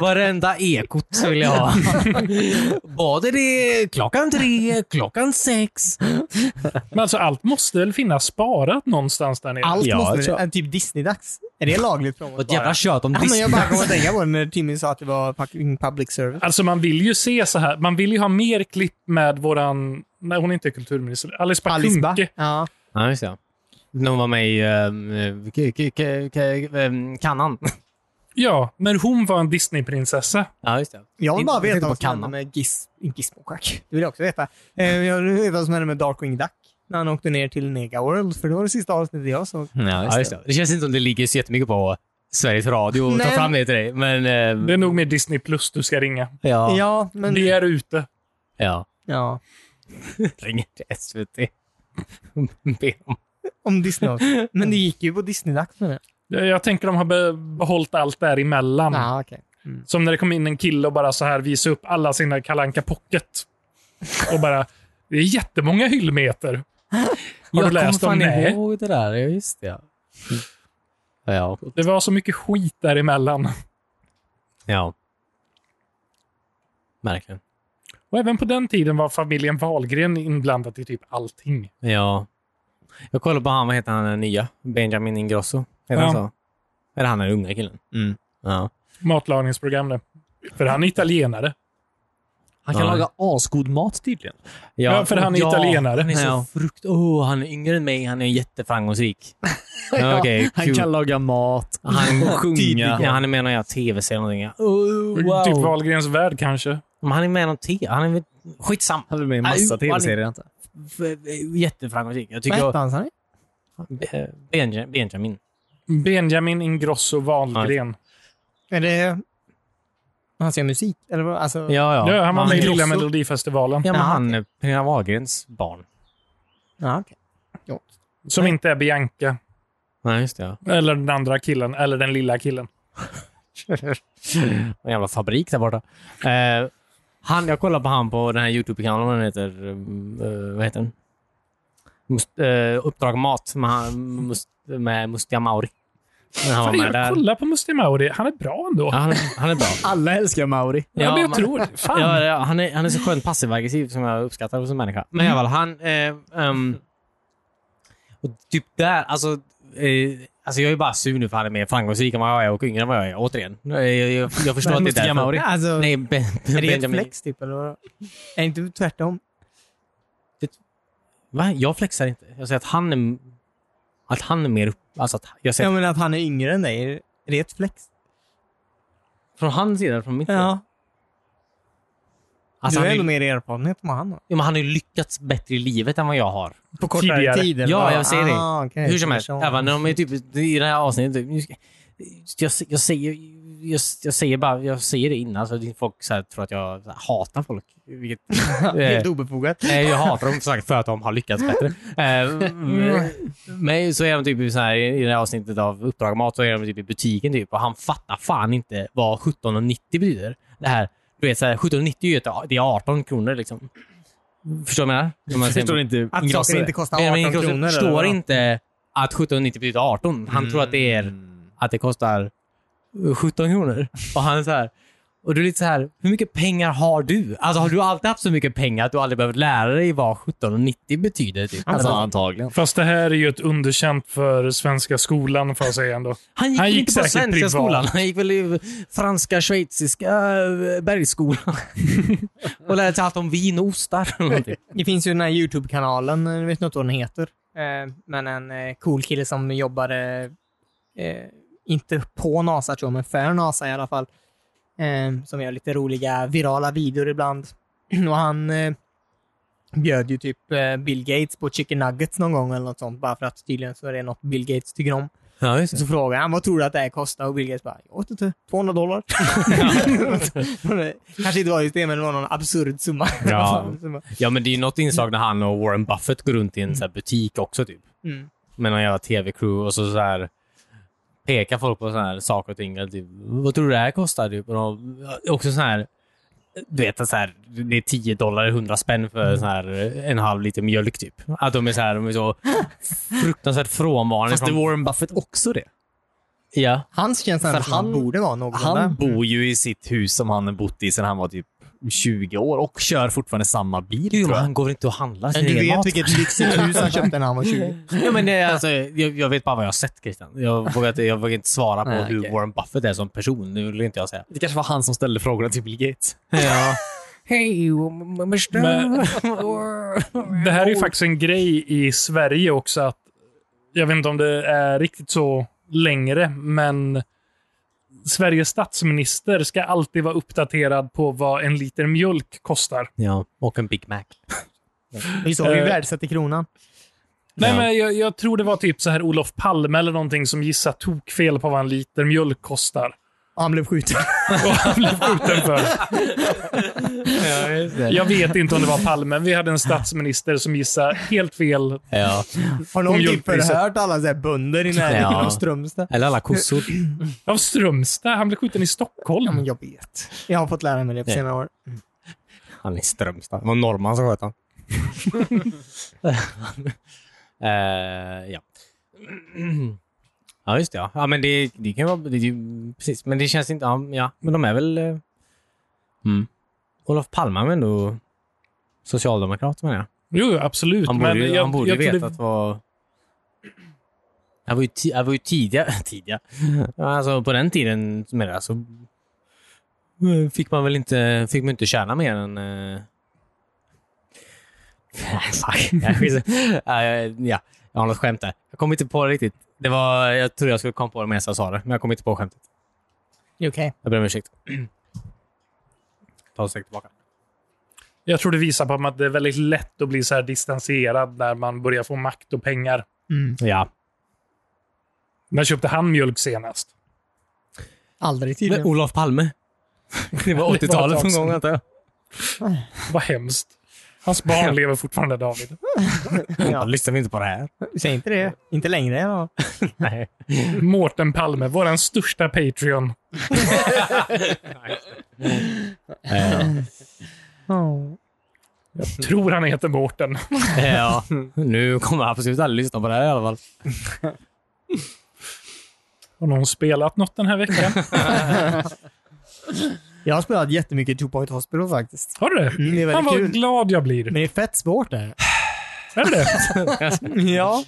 B: Varenda ekot vill jag ha. Både det klockan tre, klockan sex.
C: Men alltså allt måste väl finnas sparat någonstans där nere?
D: Allt
A: Ja, jag
D: måste...
A: tror-
D: eh, Typ Disney-dags. Är det lagligt för dem
B: Och
D: att
B: ett jävla
D: spara?
B: tjat om
D: Ja, men
B: Disney.
D: jag bara kom att tänka på det när Timmy sa att det var fucking public service.
C: Alltså man vill ju se så här. Man vill ju ha mer klipp med våran... Nej, hon är inte kulturminister. Alice Bah
D: Alice Bah.
C: Kuhnke.
D: Ja.
B: Ja, just det. När hon var med i ehm, k- k- k- k- ehm, Kannan.
C: Ja, men hon var en Disneyprinsessa.
D: Mm.
B: Ja, just det.
D: Jag vill bara
B: Jag tänkte
D: veta
B: på
D: vad som hände
B: kannan.
D: med Gis, Gizmo Jack. Det vill jag också veta. Eh, Jag vill veta vad som hände med Darkwing Duck när han åkte ner till Nega World, för det var det sista avsnittet jag såg.
A: Ja,
B: Ja, just det. det känns inte som det ligger så jättemycket på Sveriges Radio att ta
D: Nej.
B: fram det till dig. Men, ehm,
C: Det är nog mer Disney plus du ska ringa.
B: ja. ja.
D: Ja, men...
C: Det är ute.
B: ja.
D: Ja.
B: Ringer till <laughs> SVT. Be om
D: Om Disney också. Men det gick ju på Disney-dags med det.
C: Jag jag tänker de har be- behållit allt däremellan.
D: Ja, okej. Mm.
C: Som när det kom in en kille och bara så här visade upp alla sina kalanka Pocket. Och bara, det är jättemånga
D: <laughs>
C: hyllmeter. Har du läst om
B: Jag
C: det?
B: ihåg det där. Ja, just det. Ja. Ja.
C: Det var så mycket skit däremellan.
B: ja. Verkligen.
C: Och även på den tiden var familjen Wahlgren inblandad i typ allting.
B: Ja. Jag kollade på han, vad heter han den nya? Benjamin Ingrosso. Heter han
C: Ja.
B: så? Eller han är den unga killen.
A: Mm.
B: Ja.
C: Matlagningsprogram det. För han är italienare.
A: Han kan
B: Ja.
A: laga asgod mat tydligen.
C: Ja, för han är
B: ja,
C: italienare.
B: Han är så
A: Ja.
B: frukt... Oh, han är yngre än mig. Han är <laughs> jätteframgångsrik. ja, Okej,
A: Han
B: kul.
A: kan laga mat.
B: Han
A: sjunga.
B: Ja, han är med i någon jävla tv-serie eller någonting. Ja. Oh,
C: Typ
B: wow.
C: Wahlgrens värld kanske.
B: Men han är med i någon tv... Han är väl... Skitsam.
A: Han är med i en
B: Aj,
A: massa
B: vad
A: tv-serier. inte?
B: eh, Jätteframgångsrik. Jag
D: Vad
B: tycker...
D: hette
B: Jag...
D: han, sa ni?
B: Be- Benja- Benjamin.
C: Benjamin Ingrosso Wahlgren.
D: Är det... Han ser musik? Eller vad? Alltså...
B: Ja, ja.
C: Ja, han var med i Lilla
B: Grosso.
C: Melodifestivalen.
B: Ja, men han är Pernilla Wahlgrens barn.
D: Ja, okej.
C: Som inte är Bianca.
B: Nej, just det. Ja.
C: Eller den andra killen. Eller den lilla killen.
B: En jävla fabrik där borta. Eh, Han, jag kollar på han på den här YouTube-kanalen, vad den heter. eh, vad heter den? Must, eh, uppdrag Mat med, han, must, med Mustiga Mauri. När han var
C: Fan,
B: med
C: jag
B: där.
C: kollar på Musti Mauri. Han är bra ändå.
B: Ja, han, han är bra.
E: Alla älskar Mauri.
C: Ja, men jag
B: man-
C: tror det. Fan.
B: Ja, ja, han, är, han är så skönt passiv-aggressiv som jag uppskattar hos en människa. Men i alla fall, han... Eh, ehm, och typ där, alltså... Eh, alltså jag är bara sur nu för han är mer framgångsrik än vad jag är och yngre än vad jag är. Återigen. Jag, jag, jag förstår att det är
E: Mustiga
B: därför.
E: Mauri.
D: Alltså,
B: Nej, ben,
D: är det ett
B: Benjamin.
D: flex typ? Eller vad? Är inte tvärtom?
B: Va? Jag flexar inte. Jag säger att han är... Att han är mer upp... Alltså att jag säger
D: Jag menar att han är yngre än dig. Är det ett flex?
B: från hans sida, från mitt sida.
D: Du
B: Alltså,
D: har
B: han, är,
D: ändå
B: ju-
D: mer erfarenhet än vad han har.
B: ja, men han har ju lyckats bättre i livet än vad jag har.
D: På kortare
C: Tidigare.
D: tid? eller
B: Ja,
D: vad?
B: jag säger det.
D: Ah, okej.
B: Hur som helst,
D: Så.
B: även om jag typ, i det här avsnittet, typ, nu ska- jag, jag, säger, jag, jag säger bara, jag säger det innan så att folk så här, tror att jag så här, hatar folk. Vilket, eh,
D: Helt obefogat.
B: nej, jag hatar dem sagt för att de har lyckats bättre. Eh, men så är de typ i så här, i det här avsnittet av Uppdrag Mat så är de typ i butiken typ, och han fattar fan inte vad 17,90 betyder. Det här, du vet, så här, 17,90 är ju ett, det är 18 kronor liksom. Förstår du vad jag menar? Om man
E: Jag
B: ser-
E: förstår inte
D: Att
E: ingrossen.
D: saker inte kostar
B: Nej,
D: 18
B: men Kroos
D: kronor. eller
B: förstår
D: vad?
B: inte att 17,90 betyder 18. Han tror att det är att det kostar 17 kronor. Och han är så här, och du är lite så här, hur mycket pengar har du? Alltså har du alltid haft så mycket pengar att du aldrig behövt lära dig vad 17,90 betyder? Typ?
A: Alltså,
B: Alltså,
A: antagligen.
C: Fast det här är ju ett underkänt för svenska skolan, får jag säga ändå.
B: han gick,
C: han
B: väl
C: gick
B: inte på
C: säkert
B: svenska
C: privat.
B: skolan. Han gick väl i franska, schweiziska eh, bergsskolan. och lärde sig allt om vin och ostar. eller någonting.
D: Det finns ju den här YouTube-kanalen, jag vet inte vad den heter, eh, men en eh, cool kille som jobbade, eh, inte på NASA tror jag, men för NASA i alla fall, eh, som gör lite roliga virala videor ibland. <clears throat> Och han eh, bjöd ju typ eh, Bill Gates på chicken nuggets någon gång eller något sånt, bara för att tydligen så är det något Bill Gates tycker om.
B: Ja, just
D: Så frågade han, vad tror du att det här kostar? Och Bill Gates bara, jag vet inte,
B: <laughs>
D: 200 dollar? Kanske inte var just det, men det var någon <laughs> absurd summa.
B: Ja. Ja, men det är ju något inslag när han och Warren Buffett går runt i en så här butik också. Typ.
D: Mm.
B: Med någon jävla tv-crew och så, så här pekar folk på såna här saker och ting. eller Typ, Vad tror du det här kostar? Typ. Och de, också så här, du vet, så här, det är 10 dollar, 100 spänn för så här, en halv liter mjölk. Typ. Att de är så, här, de är så fruktansvärt frånvarande.
A: Fast är
B: från-
A: Warren Buffett också det?
B: ja.
D: Hans känns ändå
A: För
D: som han
A: han-
D: borde vara någon
A: Han
D: där.
A: bor ju i sitt hus som han har bott i sedan han var typ 20 år och kör fortfarande samma bil.
B: Jo,
A: tror
B: men
A: jag.
B: han går inte och handlar sin
D: Du
B: egen
D: vet
B: mat.
D: vilket lyxigt hus han köpte när han var 20.
B: Ja, men det, är alltså, jag, jag vet bara vad jag har sett Christian. Jag vågar inte, jag vågar inte svara på
A: Nej,
B: hur
A: okej.
B: Warren Buffett är som person. Det vill inte jag säga.
A: Det kanske var han som ställde frågorna till Bill Gates.
B: Ja.
C: Men det här är ju faktiskt en grej i Sverige också. att Jag vet inte om det är riktigt så längre, men Sveriges statsminister ska alltid vara uppdaterad på vad en liter mjölk kostar.
B: ja. Och en Big Mac.
D: Vi såg ju
C: Eh.
D: värdesätter kronan.
C: Nej,
B: Ja.
C: men jag, jag tror det var typ så här Olof Palme eller någonting som gissade tokfel på vad en liter mjölk kostar. <laughs>
D: Och han blev
B: <laughs>
D: skjuten.
C: Och han blev skjuten för. Jag vet inte om det var Palme. Vi hade en statsminister som gissade helt fel.
B: Ja.
D: Har någon typ
C: mjölkpriset.
D: förhört alla så här bönder i närheten
B: Ja.
D: av Strömstad?
B: Eller alla kossor.
C: Av Strömstad. Han blev skjuten i
D: Ja,
C: Stockholm.
D: men jag vet. Jag har fått lära mig det på
B: Nej.
D: senare år.
B: Han är i Strömstad. Det var norrman som sköt han. <laughs> Eh, ja. <clears throat> ja, just det. Ja, ja men det, det kan ju vara... Det, är ju- precis, men det känns inte... Ja, ja, men de är väl... eh, Mm. Olof Palme är ändå socialdemokrat, menar jag.
C: Jo, absolut.
B: Han borde,
C: men
B: ju,
C: jag,
B: han borde
C: jag
B: ju
C: tror
B: veta
C: det-
B: att vad... Jag var ju, ti- jag var ju tidiga, <laughs> tidiga. Alltså på den tiden med det, så fick man väl inte, fick man inte tjäna mer än... eh, <laughs> Fuck. <laughs> Jag skiter- Eh, ja, jag har något skämt där. Jag kom inte på det riktigt. Det var, jag tror jag skulle komma på det medan jag sa det, men jag kom inte på skämtet.
D: Det är okej.
B: Jag ber om ursäkt. Ta ett steg tillbaka.
C: Jag tror det visar på att det är väldigt lätt att bli så här distanserad när man börjar få makt och pengar.
B: Ja.
C: När köpte han mjölk senast?
D: Aldrig
B: Men
D: tydligen.
B: Olof Palme. Det var
C: <laughs> Det var ett
B: 80-talet
C: tag
B: någon
C: sedan.
B: gång, antar jag.
C: Vad hemskt. Hans barn lever
B: <laughs>
C: fortfarande, David.
D: Ja.
A: Lyssnar vi inte på det här?
D: Säg inte det. Inte längre än vad-
A: Nej.
C: Mårten Palme, vår största Patreon.
D: Ja.
C: Tror han heter Mårten.
B: ja, nu kommer jag absolut aldrig lyssna på det här i alla fall.
C: Har någon spelat något den här veckan?
E: Jag har spelat jättemycket Two Point Hospital faktiskt.
C: Har du det?
E: Mm, det är väldigt
C: Han var
E: kul.
C: glad jag blir.
E: Men det är fett svårt där.
C: Är
B: <laughs>
C: det det?
E: ja,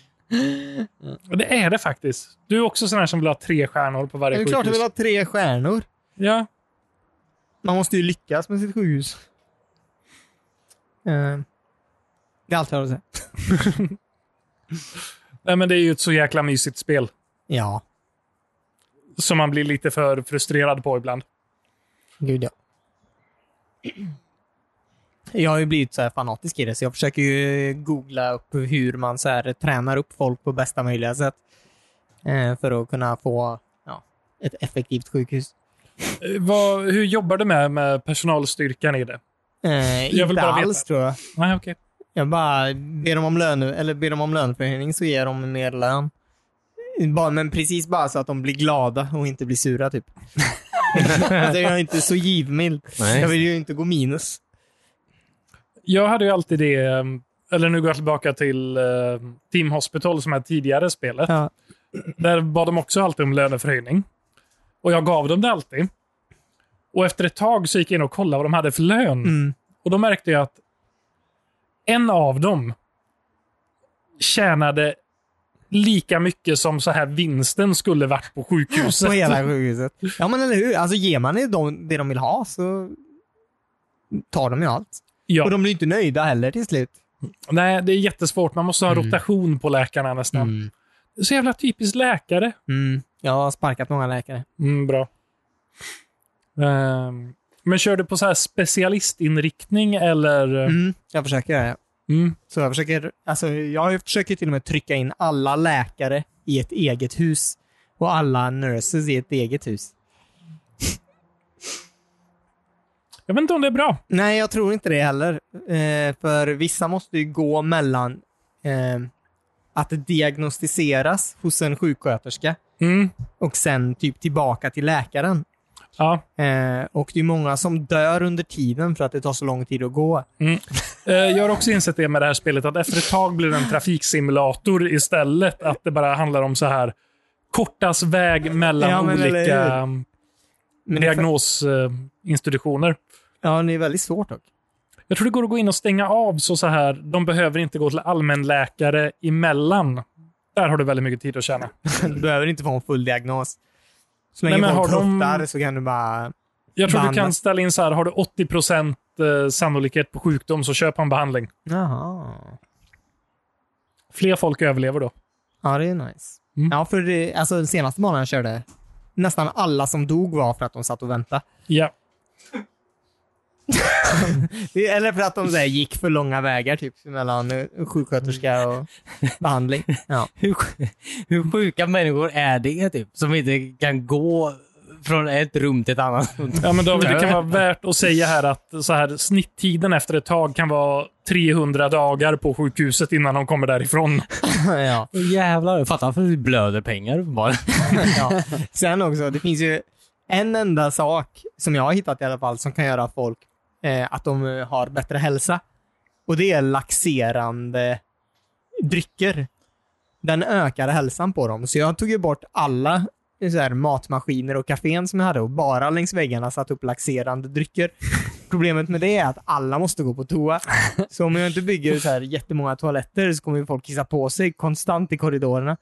C: Och Det är det faktiskt. Du är också sån här som vill ha tre stjärnor på
E: det
C: varje
E: är klart jag
C: sjukhus.
E: vill ha tre stjärnor.
C: Ja.
E: Man måste ju lyckas med sitt sjukhus.
D: Eh, Det är allt jag har att säga.
C: Nej, men det är ju ett så jäkla mysigt spel
E: Ja,
C: som man blir lite för frustrerad på ibland.
E: gud ja.
D: Jag har ju blivit så här fanatisk i det, så jag försöker ju googla upp hur man så här, tränar upp folk på bästa möjliga sätt. eh, För att kunna få ja, ett effektivt sjukhus.
C: Eh, Vad, hur jobbar du med, med personalstyrkan i det?
D: Eh,
C: vill bara
D: inte
C: veta.
D: alls tror jag.
C: Nej, okej.
D: Jag bara ber dem om lön, eller ber dem om löneförhöjning så ger de mer lön. Bara, men precis bara så att de blir glada och inte blir sura <laughs> typ. alltså, jag är inte så givmild.
B: Nej.
D: Jag vill ju inte gå minus.
C: Jag hade ju alltid det, eh, eller nu går jag tillbaka till eh, Team Hospital som är tidigare spelet.
D: Ja.
C: Där bad de också alltid om löneförhöjning. Och jag gav dem det alltid. Och efter ett tag så gick jag in och kollade vad de hade för lön.
D: Mm.
C: Och då märkte jag att en av dem tjänade lika mycket som så här vinsten skulle varit på sjukhuset.
D: <laughs> På hela sjukhuset. Ja men eller hur. Alltså ger man dem det de vill ha så tar de ju allt.
C: Ja.
D: Och de blir inte nöjda heller till slut.
C: Nej, det är jättesvårt. Man måste ha rotation på läkarna nästan.
D: Mm.
C: Så jävla typiskt läkare.
D: Mm. Jag har sparkat många läkare.
C: Mm, bra. Ehm, men kör du på så här specialistinriktning eller? eh,
D: Mm. Jag försöker göra det.
C: Mm.
D: Så jag försöker, alltså jag försöker till och med trycka in alla läkare i ett eget hus och alla nurses i ett eget hus.
C: Jag vet inte om det är bra.
D: Nej, jag tror inte det heller. Eh, för vissa måste ju gå mellan eh, att diagnostiseras hos en sjuksköterska
C: Mm.
D: och sen typ tillbaka till läkaren.
C: Ja.
D: Eh, och det är många som dör under tiden för att det tar så lång tid att gå.
C: Eh, Jag har också insett det med det här spelet, att efter ett tag blir det en trafiksimulator istället. Att det bara handlar om så här kortas väg mellan
D: Ja, men eller
C: olika mm,
D: Men det är för-
C: diagnosinstitutioner.
D: Ja, det är väldigt svårt dock. <laughs>
C: Jag tror det går att gå in och stänga av så, så här. De behöver inte gå till allmänläkare emellan. Där har du väldigt mycket tid att tjäna.
D: Du behöver inte få en full diagnos. Så länge
C: Nej, men
D: folk
C: har de-
D: pruttar så kan du bara...
C: Jag tror du
D: Behandla.
C: kan ställa in så här, har du 80 procent eh, sannolikhet på sjukdom så köp en behandling.
D: Jaha.
C: Fler folk överlever då.
D: Ja, det är nice.
C: Mm.
D: Ja, för det, alltså, den senaste banan jag körde, nästan alla som dog var för att de satt och väntade.
C: Ja.
D: Det- Eller för att de så här, gick för långa vägar typ, mellan eh, sjuksköterska och behandling. Ja.
B: Hur, sj- hur sjuka människor är det typ? Som inte kan gå från ett rum till ett annat.
C: Ja, men David, det kan vara värt att säga här att så här, snitttiden efter ett tag kan vara 300 dagar på sjukhuset innan de kommer därifrån.
D: ja.
B: Jävlar, jag fattar för vi blöder pengar bara.
D: ja. <laughs> Sen också, det finns ju en enda sak som jag har hittat i alla fall som kan göra att folk eh, att de eh, har bättre hälsa. Och det är laxerande drycker. Den ökar hälsan på dem. Så jag tog ju bort alla eh, så här, matmaskiner och kafén som jag hade och bara längs väggarna satt upp laxerande drycker. Problemet med det är att alla måste gå på toa. Så om jag inte bygger så här jättemånga toaletter så kommer ju folk kissa på sig konstant i korridorerna.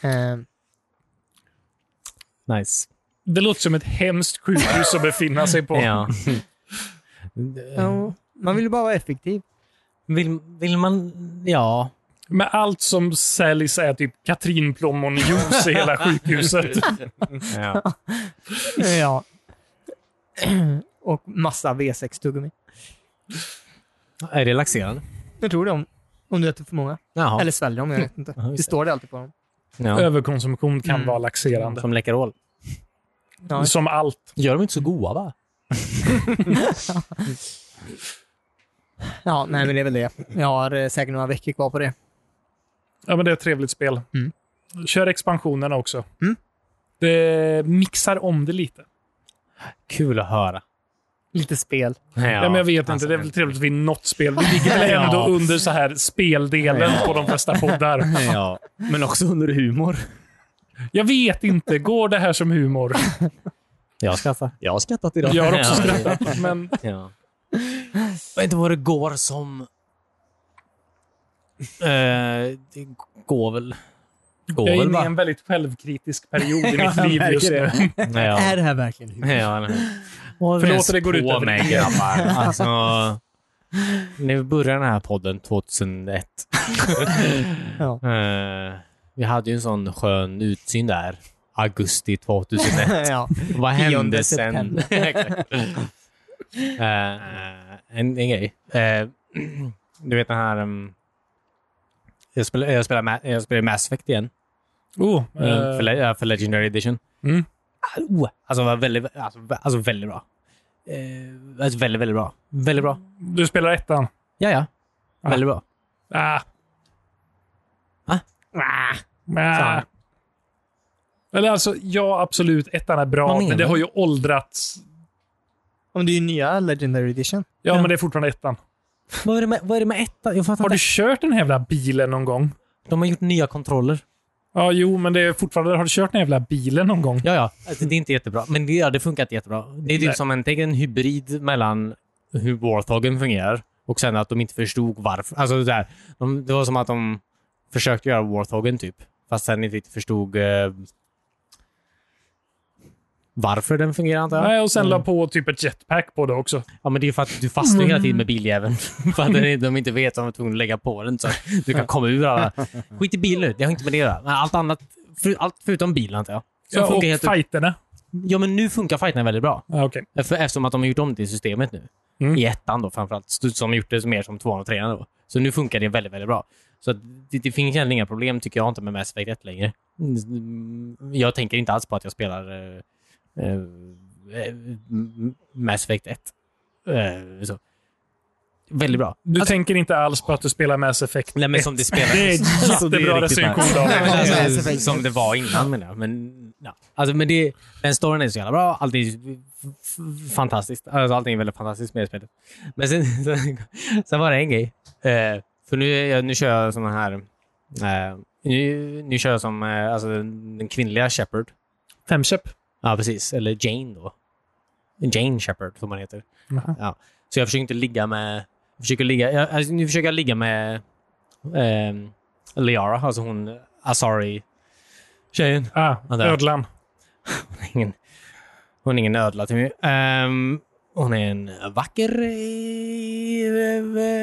D: Eh,
B: Nice.
C: Det låter som ett hemskt sjukhus att befinna sig på.
B: <laughs> Ja.
D: Ja, Eh, man vill ju bara vara effektiv.
B: Vill, vill man... Ja.
C: Med allt som säljs är typ katrinplommonjuice i hela sjukhuset.
A: <laughs>
B: ja.
D: <laughs> Ja. Och massa V6-tuggummi.
B: Är det laxerande?
D: Jag tror det om, om du äter för många.
B: Jaha.
D: Eller sväljer dem, jag vet inte.
B: Ja, just
D: Det står det alltid på dem.
B: ja.
C: Överkonsumtion kan
D: Mm.
C: vara laxerande.
B: Som Läkerol.
D: Ja.
C: Som allt.
B: Gör de inte så goda va?
D: Ja, nej, men det är väl det. Jag har eh, säkert några veckor kvar på det.
C: Ja, men det är ett trevligt spel.
D: Mm.
C: Kör expansionerna också.
D: Mm.
C: Det mixar om det lite.
B: Kul att höra.
D: Lite spel.
B: Ja,
C: Ja, men jag vet
B: alltså,
C: inte, det är väl trevligt att vi något spel. Vi ligger väl
B: <laughs>
C: ändå
B: Ja.
C: under så här speldelen på de flesta poddar.
B: Ja.
E: Men också under humor.
C: Jag vet inte, går det här som humor?
B: Jag skaffar.
E: Jag har skrattat idag.
C: Jag har också
B: Ja.
C: skrattat, men
B: Ja. Jag vet inte vad det går som... Eh, det går väl... Går
C: jag är
B: väl
C: inne i
B: bara.
C: en väldigt självkritisk period
D: <laughs>
C: i mitt
D: jag
C: liv
D: märker
C: just nu.
D: det.
B: Ja.
D: Är det här verkligen <laughs> humor?
B: Ja, nej. Vad
C: Förlåt,
B: ens
C: det går ut
B: på
C: över
B: mig
C: dig.
B: grabbar. Alltså, <laughs> när vi började den här podden 2001.
D: Ja.
B: eh, vi hade ju en sån skön utsyn där. Augusti 2001.
D: ja.
B: Vad hände
D: Tionde
B: sen?
D: september.
B: <laughs> Exakt. Eh, en, en grej. Eh, du vet den här... Um, jag spelar, jag, spelar Ma- jag spelar Mass Effect igen.
C: Oh,
B: Eh,
C: eh,
B: för, le- ja, för Legendary Edition.
C: Mm.
B: Ah, Oh, alltså, var väldigt, alltså, vä- alltså väldigt bra. Eh, alltså, väldigt, väldigt bra. Väldigt bra.
C: du spelar ettan?
B: Ja, ja. Väldigt bra.
C: Ah.
B: Va?
C: Ah. Eller alltså, ja absolut, ettan är
B: Vad
C: bra,
B: menar
C: men det
B: du?
C: har ju åldrats.
D: Om det är ju nya Legendary Edition.
C: Ja, men det är fortfarande ettan.
B: Vad är det med, vad är det med ettan? Jag fattar
C: Har du
B: inte.
C: kört den här jävla bilen någon gång?
B: De har gjort nya kontroller.
C: Ja, jo, men det är fortfarande... Har du kört den jävla bilen någon gång?
B: Ja, ja. Alltså, det är inte jättebra, men det hade funkat jättebra. Det är typ
C: Nej.
B: som en, tänk en hybrid mellan hur Warthogen fungerar och sen att de inte förstod varför. Alltså, det, där, de, det var som att de försökte göra Warthogen, typ. Fast sen inte riktigt förstod eh, varför den fungerar, antar jag.
C: Nej, och sen la på typ ett jetpack på det också.
B: Ja, men det är ju för att du fastnar hela tiden
C: Mm.
B: med biljäveln. <laughs> för att den är- de inte vet att de är tvungna att lägga på den så att du kan komma ur alla... Skit i bilen nu, det har inte med det att göra. Men allt annat, för, allt förutom bilen, antar jag. Så
C: Ja, och
B: funkar helt
C: fighterna.
B: Ja, men nu funkar fighterna väldigt bra.
C: Ja, okej.
B: För, eftersom att de har gjort om det systemet nu.
C: Mm.
B: I ettan då framförallt. Så- Som gjort det mer som tvåan och trean då. Så nu funkar det väldigt, väldigt bra. Så att det, det finns egentligen inga problem tycker jag inte med Mass Effect 1 längre. Mm, Jag tänker inte alls på att jag spelar eh, eh, eh, m- Mass Effect 1. Eh, så. Väldigt bra.
C: Du tänker inte alls på att du spelar Mass Effect
B: Alltså- Nej, men som det spelar. Alltså,
C: Det är jättebra
B: riktigt
C: recension,
B: nice.
C: David.
B: <laughs> Men alltså,
D: Mass Effect.
B: som det var innan menar jag. Men, ja. alltså, men det, den storyn är så jävla bra. Allt är f- f- fantastiskt. Alltså, allting är väldigt fantastiskt med det spelet. Men sen, <laughs> sen, sen var det en grej. Eh, för nu, är jag- nu kör jag såna här... eh, nu, nu kör jag som eh, alltså, den, den kvinnliga Shepard.
C: Femköp.
B: Ja, precis. Eller Jane då. Jane Shepard, som man heter.
C: Jaha.
B: Ja. Så jag försöker inte ligga med... Jag försöker ligga, jag, alltså, nu försöker jag ligga med ehm, Liara, alltså hon Asari-tjejen.
C: Ah,
B: Ja, där.
C: ödlan.
B: Ingen, hon är ingen ödla till mig. Ehm, hon är en vacker, eh,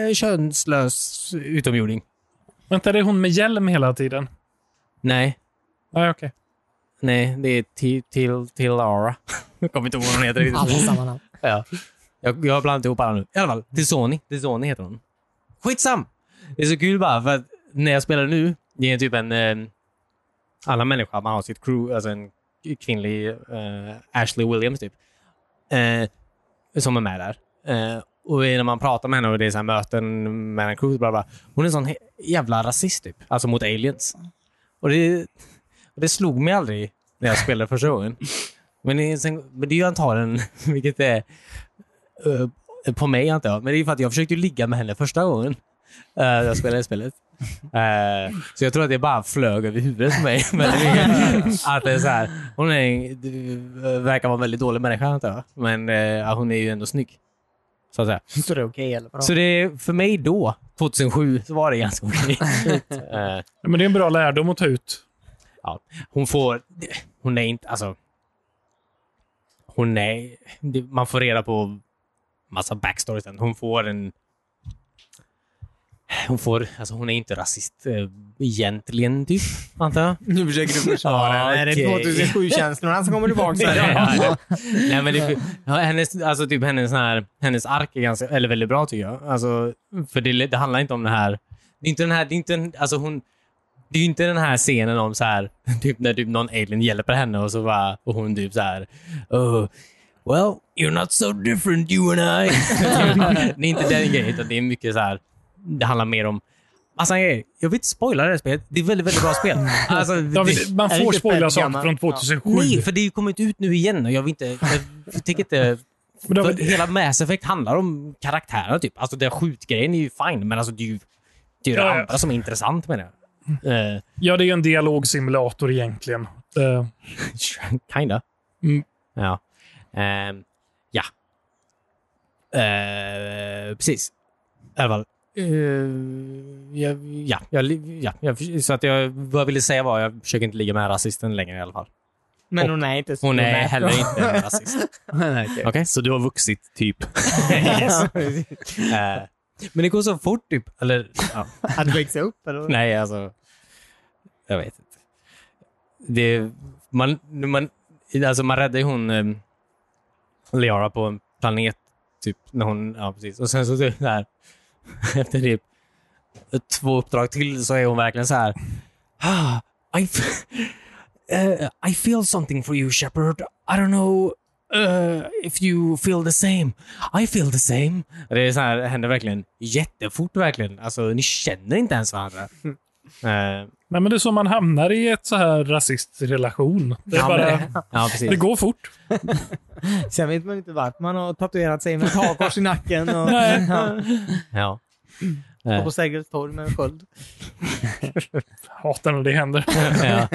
B: eh, könslös utomjording.
C: Vänta, det är hon med hjälm hela tiden?
B: Nej,
C: Ja, okej.
B: nej, det är Ti- Til- Tilara. <laughs> Jag kommer inte ihåg vad hon heter riktigt.
D: Alla sammanhang.
B: Ja. Jag, jag har blandat ihop alla nu. I alla fall, till Sony. Till Sony heter hon. Skitsam! Det är så kul bara, för att när jag spelar nu, det är typ en... Eh, alla människor, man har sitt crew, alltså en kvinnlig eh, Ashley Williams typ, eh, som är med där. Eh, och när man pratar med henne och det är så här möten mellan crewet, bla bla, hon är en sån he- jävla rasist typ, alltså mot aliens. Och det, och det slog mig aldrig när jag spelade första gången. Men det, är sen, men det är ju antagligen, <laughs> vilket är eh, på mig antar jag, men det är ju för att jag försökte ju ligga med henne första gången eh, jag spelade det spelet. Eh, så jag tror att det bara flög över huvudet på mig. <laughs> Men det är, att det är så här, hon är, en- du- verkar vara en väldigt dålig människa antar jag, men eh, hon är ju ändå snygg. Så att säga.
D: <laughs> Så det är okej, eller vadå?
B: Så det, för mig då, 2007, så var det ganska okej. Eh,
C: Ja, Men det är en bra lärdom att ta ut.
B: ja, hon får... Hon är inte... Alltså... Hon är... det- Man får reda på massa backstory sen. Hon får en... Hon får... Alltså hon är inte rasist eh, egentligen, typ. Antar jag.
D: Nu försöker du försvara
B: Ja,
D: henne. Är det
B: okej.
D: 2007-känslorna som kommer <laughs> tillbaka? så här?
B: Ja. Nej, men det, ja, hennes, alltså typ hennes, sån här, hennes ark är ganska, eller väldigt bra tycker jag. Alltså, för det, det handlar inte om det här. Det är inte den här, det är inte en, alltså hon, det är ju inte den här <laughs> scenen om så här, typ när typ någon alien hjälper henne och så bara, och hon typ så här, "Åh, Well, you're not so different you and I. <laughs> Typ. det är inte den grejen, utan det är mycket så här. Det handlar mer om massa grejer. Jag vill inte spoila det här spelet. Det är väldigt, väldigt bra <laughs> spel. Alltså, det-
C: David, man
B: är det
C: får
B: inte
C: spoila
B: fem
C: saker
B: gammal?
C: från 2007.
B: Nej, för det har ju kommit ut nu igen och jag vill inte... Jag tänker inte...
C: <laughs> Men då-
B: för hela Mass Effect handlar om karaktärerna typ. Alltså den skjutgrejen är ju fine, men alltså det är ju det, är ju det
C: Ja, ja.
B: andra som är intressant med det. Uh,
C: Ja, det är ju en dialogsimulator egentligen. Eh,
B: <laughs> kinda.
C: Mm.
B: Ja. Ehm, ja. Eh, precis. I alla fall. Eh, ja, ja, jag, li- ja, jag, så att jag, vad jag ville säga var jag försöker inte ligga med rasisten längre i alla fall.
D: Men hon är inte så
B: Hon är
D: bra.
B: heller inte <laughs> en rasist.
E: Okej.
B: Okej.
A: Så du har vuxit, typ.
B: Yes. Eh, men det går så fort typ. Eller, ja.
D: <laughs> Att växa upp eller?
B: <laughs> Nej, alltså. Jag vet inte. Det, man, man, alltså man räddade ju hon eh, Liara på en planet. Typ, när hon, ja, precis. Och sen så typ så här, <laughs> efter typ två uppdrag till så är hon verkligen så här. Ah, I, f- <laughs> eh, I feel something for you Shepard. I don't know eh, if you feel the same. I feel the same. Det är så här, det händer verkligen jättefort verkligen. Alltså ni känner inte ens varandra. Eh,
C: nej, men det är så man hamnar i ett så här rasistrelation. Det, är
B: ja, men <laughs>
C: bara,
B: det- ja, precis.
C: det går fort.
D: Sen vet man inte vart man har tatuerat sig med ett hakkors i nacken <laughs> och,
C: Nej.
D: ja,
B: Ja.
D: och på Sergels torg med en sköld.
C: Hatar när det händer.
B: ja.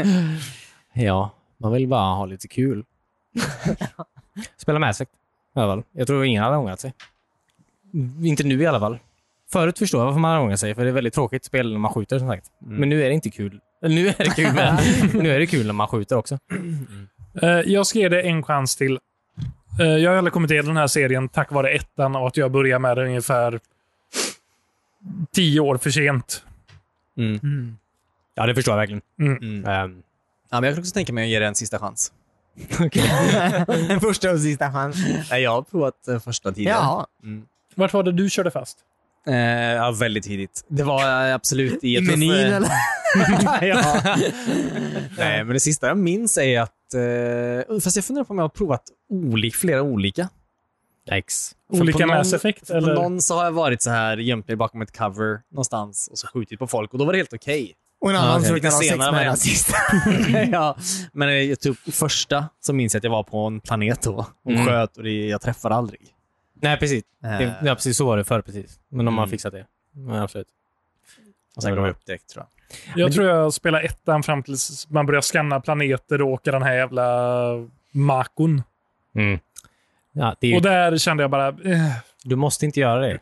B: ja, man vill bara ha lite kul. <laughs> Spela med sig. I alla fall. Jag tror ingen hade ångrat sig. Mm, Inte nu i alla fall. Förut förstår jag varför man har ångrat sig, för det är väldigt tråkigt spel när man skjuter som sagt. Men nu är det inte kul. Eller, Nu är det kul, <laughs> men nu är det kul när man skjuter också.
C: Eh, jag ska ge det en chans till. Eh, jag har aldrig kommit till den här serien tack vare ettan och att jag började med den ungefär tio år för sent.
B: Ja, det förstår jag verkligen.
C: Mm.
B: Ehm,
E: Ja, men jag kan också tänka mig att ge det en sista chans.
D: En <laughs> första och sista chans.
E: Nej, jag har provat eh, första tiden.
D: Jaha.
C: Vart var det du
B: <laughs>
C: körde fast?
E: Eh, ja, väldigt tidigt. Det var eh, absolut i
D: I
E: ett...
D: menyn
E: eh,
D: eller?
E: ja. Nej, men det sista jag minns är att... Eh, fast jag funderar på om jag har provat oli, flera olika.
B: yikes.
E: För på
C: Olika
E: någon-
C: Mass Effect?
E: för på
C: Eller?
E: Någon så har jag varit så här, gömt mig bakom ett cover någonstans och så skjutit på folk och då var det helt okej.
D: Och en annan som
E: Lite
D: kan ha sex
E: senare var
D: med
E: jag
D: en
E: rasist. <laughs> ja. Men eh, typ första så minns jag att jag var på en planet då och
B: Mm.
E: sköt och det, jag träffade aldrig.
B: Nej, precis.
E: Eh,
B: Det, ja, precis. Så var det förr, precis. Men de har
E: Mm.
B: fixat det. Ja, absolut.
E: och sen gav jag upp direkt tror jag.
C: Jag tror jag spelar ettan fram tills man börjar scanna planeter och åka den här jävla makon.
B: Mm. Ja, det är ju,
C: Och där kände jag bara, eh, nej,
B: Du måste inte göra det.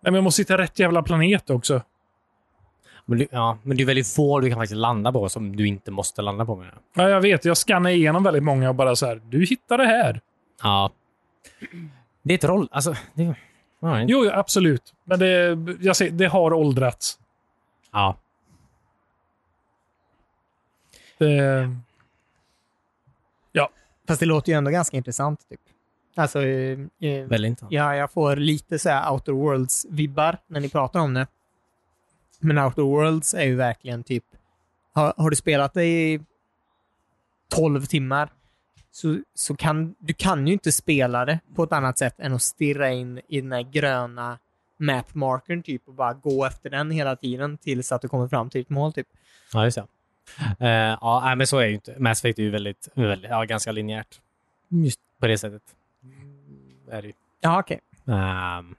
C: men jag måste hitta rätt jävla planet också.
B: Men, du, ja, men det är väldigt få du kan faktiskt landa på som du inte måste landa på. Med.
C: Ja, jag vet, jag scannar igenom väldigt många och bara så här, du hittar det här.
B: Ja. Det är ett roll... Alltså, det, ja, det-
C: Jo, ja, absolut. Men det, jag ser, det har åldrats.
B: ja.
C: Det,
D: Fast det låter ju ändå ganska intressant. Typ. Alltså, eh, eh,
B: Väldigt intressant.
D: ja, jag får lite så här Outer Worlds-vibbar när ni pratar om det. Men Outer Worlds är ju verkligen typ... Har, har du spelat det i 12 timmar så, så kan du kan ju inte spela det på ett annat sätt än att stirra in i den här gröna map-markern typ och bara gå efter den hela tiden tills att du kommer fram till ditt mål. Typ.
B: Ja, just det. Eh, ja, nej, men så är det ju inte. Mass Effect är ju väldigt, väldigt ja, ganska linjärt. Just på det sättet. Är det ju.
D: Ja, okej. Mm,
B: Ehm,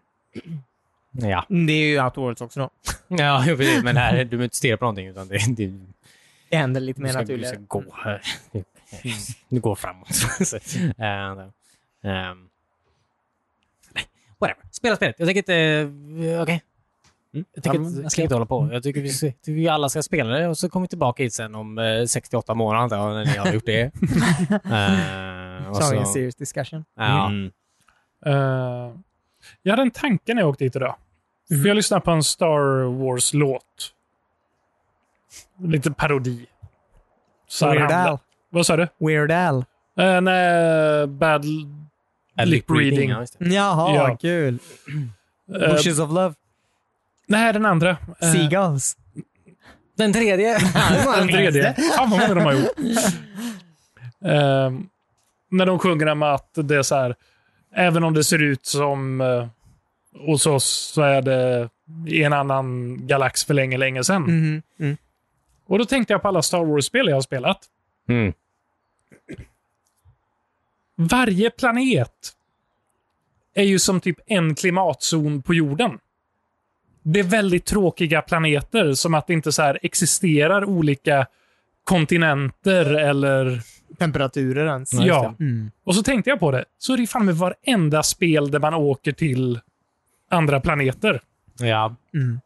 B: ja.
D: Det är ju Outer Worlds också då.
B: ja, jo, precis. Men här, du behöver inte stirra på någonting. Utan det, det,
D: Det händer lite
B: du,
D: mer
B: ska, du
D: naturligt.
B: ska gå. <laughs> Du går framåt. Så, eh, ehm, whatever. Spela spelet. Jag tänker inte... eh, Okej. Jag tycker,
E: Ja, men-
B: inte- jag ska inte hålla på. Jag tycker vi, ska- tycker vi alla ska spela det och så kommer vi tillbaka hit sen om eh, 68 månader antar jag, när ni har gjort det. Eh, och
D: Så har vi en
B: så-
D: serious discussion.
B: ja.
E: Mm.
C: eh, jag hade en tanke när jag åkte hit idag. För jag lyssnade på en Star Wars-låt. Lite parodi. Så här
D: Weird
C: handlar-
D: Al.
C: Vad sa du?
D: Weird Al.
C: En eh, bad Eh, lip reading.
B: Ja, just det.
D: Jaha,
C: Ja.
D: kul.
C: Eh,
D: Bushes of Love.
C: nej, den andra. Eh,
D: Seagulls. Den tredje.
C: den tredje. Fan vad många de har gjort. Ehm, när de sjunger om att det är så här, även om det ser ut som eh, hos oss så är det i en annan galax för länge, länge sedan.
D: Mhm. Mm.
C: Och då tänkte jag på alla Star Wars-spel jag har spelat.
B: Mm.
C: Varje planet är ju som typ en klimatzon på jorden. Det är väldigt tråkiga planeter, som att det inte så här existerar olika kontinenter eller...
D: Temperaturer ens.
C: Ja.
D: Mm.
C: Och så tänkte jag på det, så är det ju fan med varenda spel där man åker till andra planeter.
B: Ja.
D: Mm.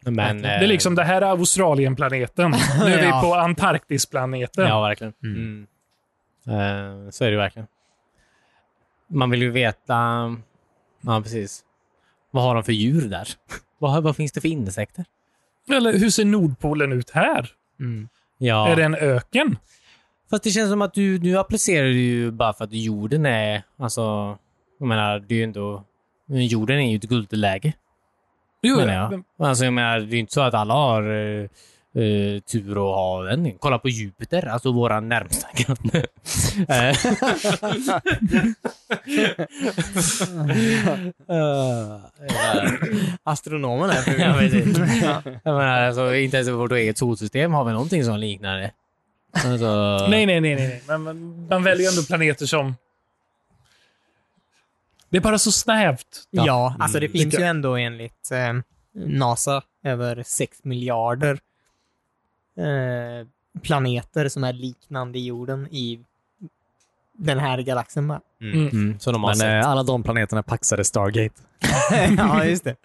B: Men,
C: Det är liksom, det här är Australienplaneten.
B: <laughs>
C: Nu är
B: Eh. Ja.
C: vi på Antarktisplaneten.
B: Ja, verkligen. Mm.
C: Mm.
B: Eh, så är det ju verkligen. Man vill ju veta... Ja, precis. Vad har de för djur där? <laughs> vad, vad finns det för insekter?
C: Eller hur ser Nordpolen ut här?
D: Mm.
B: Ja.
C: Är det en öken?
B: Fast det känns som att du, du applicerar det ju bara för att jorden är... Alltså, jag menar, det är ju ändå... men Jorden är ju ett guldläge,
C: Jo,
B: menar jag. Alltså, jag menar, det är ju inte så att alla har eh, eh, tur att ha den. Kolla på Jupiter, alltså våra närmsta <laughs> granne. <laughs> Eh. Eh,
D: Astronomen är
B: Ja, precis. Jag menar, alltså, inte ens i vårt eget solsystem har vi någonting som liknar det. Alltså,
C: Nej, nej, nej. nej, nej. Men man, man väljer ju ändå planeter som... Det är bara så snävt.
D: Ja, alltså det finns
C: Tycker
D: ju ändå enligt eh, NASA över 6 miljarder eh, planeter som är liknande jorden i den här galaxen <laughs> bara.
B: Mm, så de har
E: Men
B: sett.
E: eh, alla de planeterna paxade Stargate.
D: ja, just det.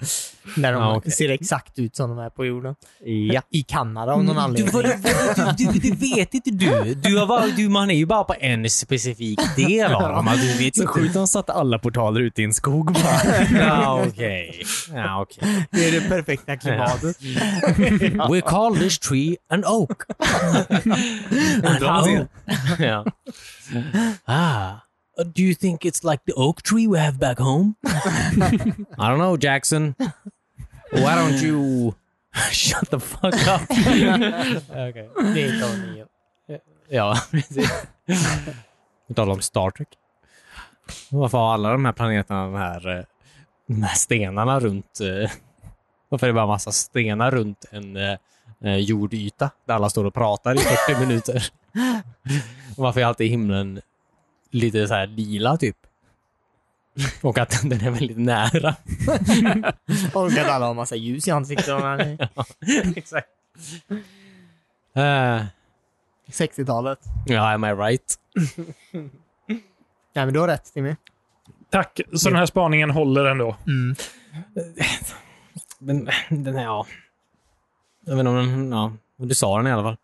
D: Där de
B: Ja, okej.
D: ser exakt ut som de är på jorden.
E: Ja.
D: I Kanada av någon anledning. <laughs>
B: Du, vadå, du, du, du vet inte du. du, har bara, du. Man är ju bara på en specifik del av dem. Alltså, Du vet
E: Så
B: ju
E: sjukt, de satte alla portaler ute i en skog
B: <laughs>
E: bara.
B: Ja, okej. Ja, okej.
D: Det är det perfekta klimatet.
B: <laughs> We call this tree <laughs> an oak. an oak. <laughs> ja. Ah. uh, Do you think it's like the oak tree we have back home? <laughs> I don't know, Jackson. Why don't you <laughs> shut the fuck up?
D: Det är Tony.
B: Ja, <laughs> precis. På tal om Star Trek. Varför har alla de här planeterna de här, eh, de här stenarna runt... eh, <laughs> Varför är det bara massa stenar runt en eh, eh, jordyta där alla står och pratar i <laughs> 40 minuter? Och varför är alltid himlen lite så här lila, typ? Och att <laughs> den är väldigt nära.
D: Och att alla har massa ljus i ansiktet. <laughs>
B: Exakt. Uh,
D: 60-talet.
B: ja, am I right?
D: Nej, men du har rätt, Timmy.
C: Tack, så den här spaningen håller ändå.
B: Den, den här, ja. Jag vet inte om den, ja. Du sa den i alla fall.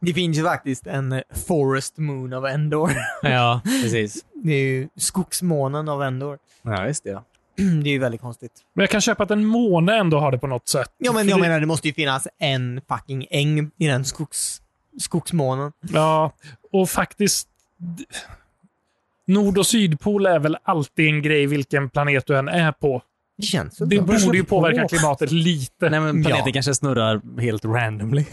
D: Det finns ju faktiskt en eh, Forest Moon av Endor. <laughs>
B: Ja, <laughs> precis.
D: Det är ju skogsmånen av Endor.
E: ja, just det. Ja.
D: Mm, Det är ju väldigt konstigt.
C: Men jag kan köpa att en måne ändå har det på något sätt.
D: Ja, men
C: För
D: jag
C: det-
D: menar, det måste ju finnas en fucking äng i den skogs, skogsmånen.
C: Ja, och faktiskt... d- Nord och sydpol är väl alltid en grej vilken planet du än är på.
D: Det känns väl
C: Det
D: så.
C: borde ju påverka klimatet lite.
E: Nej, men planeten
D: Ja.
E: kanske snurrar helt randomly.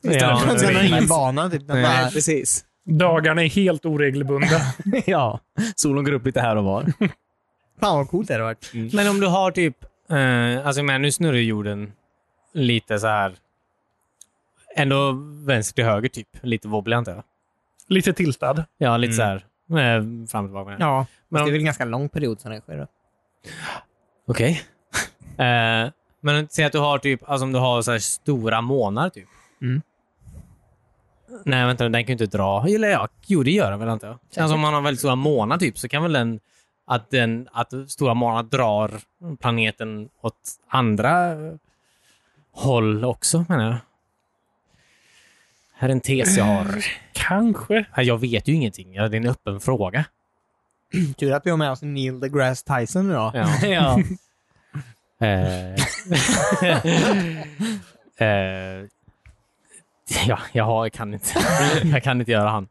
B: Ja,
D: Den har ingen bana, typ. Den bara,
E: precis.
C: Dagarna är helt oregelbundna.
E: <laughs> ja. Solen går upp lite här och var.
D: fan vad coolt det hade varit.
E: Mm.
B: Men om du har typ, eh, alltså men nu snurrar ju jorden lite så här. Ändå vänster till höger typ. Lite wobbly antar jag.
C: Lite tiltad.
B: Ja,
E: Mm.
B: lite så här. Eh, fram och tillbaka.
D: Ja,
B: Men
D: men det är
B: om-
D: väl en ganska lång period som det sker. då.
B: Okej. <laughs> eh, men säg att du har typ, alltså om du har så här stora månar typ.
D: Mm.
B: Nej, vänta, den kan ju inte dra. Eller ja, jo det gör den väl inte. Alltså om man har väldigt stora månar typ så kan väl den, att den, att stora månar drar planeten åt andra håll också menar jag. Här är en tes jag har.
C: Kanske.
B: Jag vet ju ingenting. Ja, Det är en öppen fråga.
D: Tur att vi har med oss Neil deGrasse Tyson idag.
B: <laughs> Ja.
D: ja.
B: <laughs> Eh, eh, ja, jag, har, jag kan <laughs> inte. Jag kan inte göra han.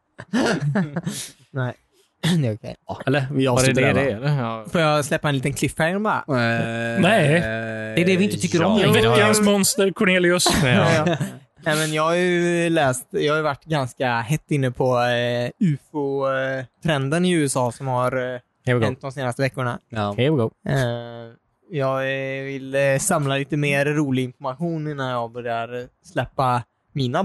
D: Nej, <clears throat> det är okej.
E: Eller? Vi
B: Var det
E: avslutar
B: det
E: där,
B: det
E: va?
B: är? eller? Ja.
D: Får jag släppa en liten cliffhanger bara?
E: Eh,
C: Nej.
E: eh,
B: Det är det vi inte tycker om
E: ja.
B: längre.
C: Veckans monster, Cornelius.
B: Ja.
D: Ja. Nej, men jag har ju läst, jag har ju varit ganska hett inne på eh, ufo-trenden i USA som har eh,
B: Here we go.
D: hänt de senaste veckorna.
E: Ja.
B: Here we go.
D: Eh, jag eh, vill eh, samla lite mer rolig information innan jag börjar eh, släppa mina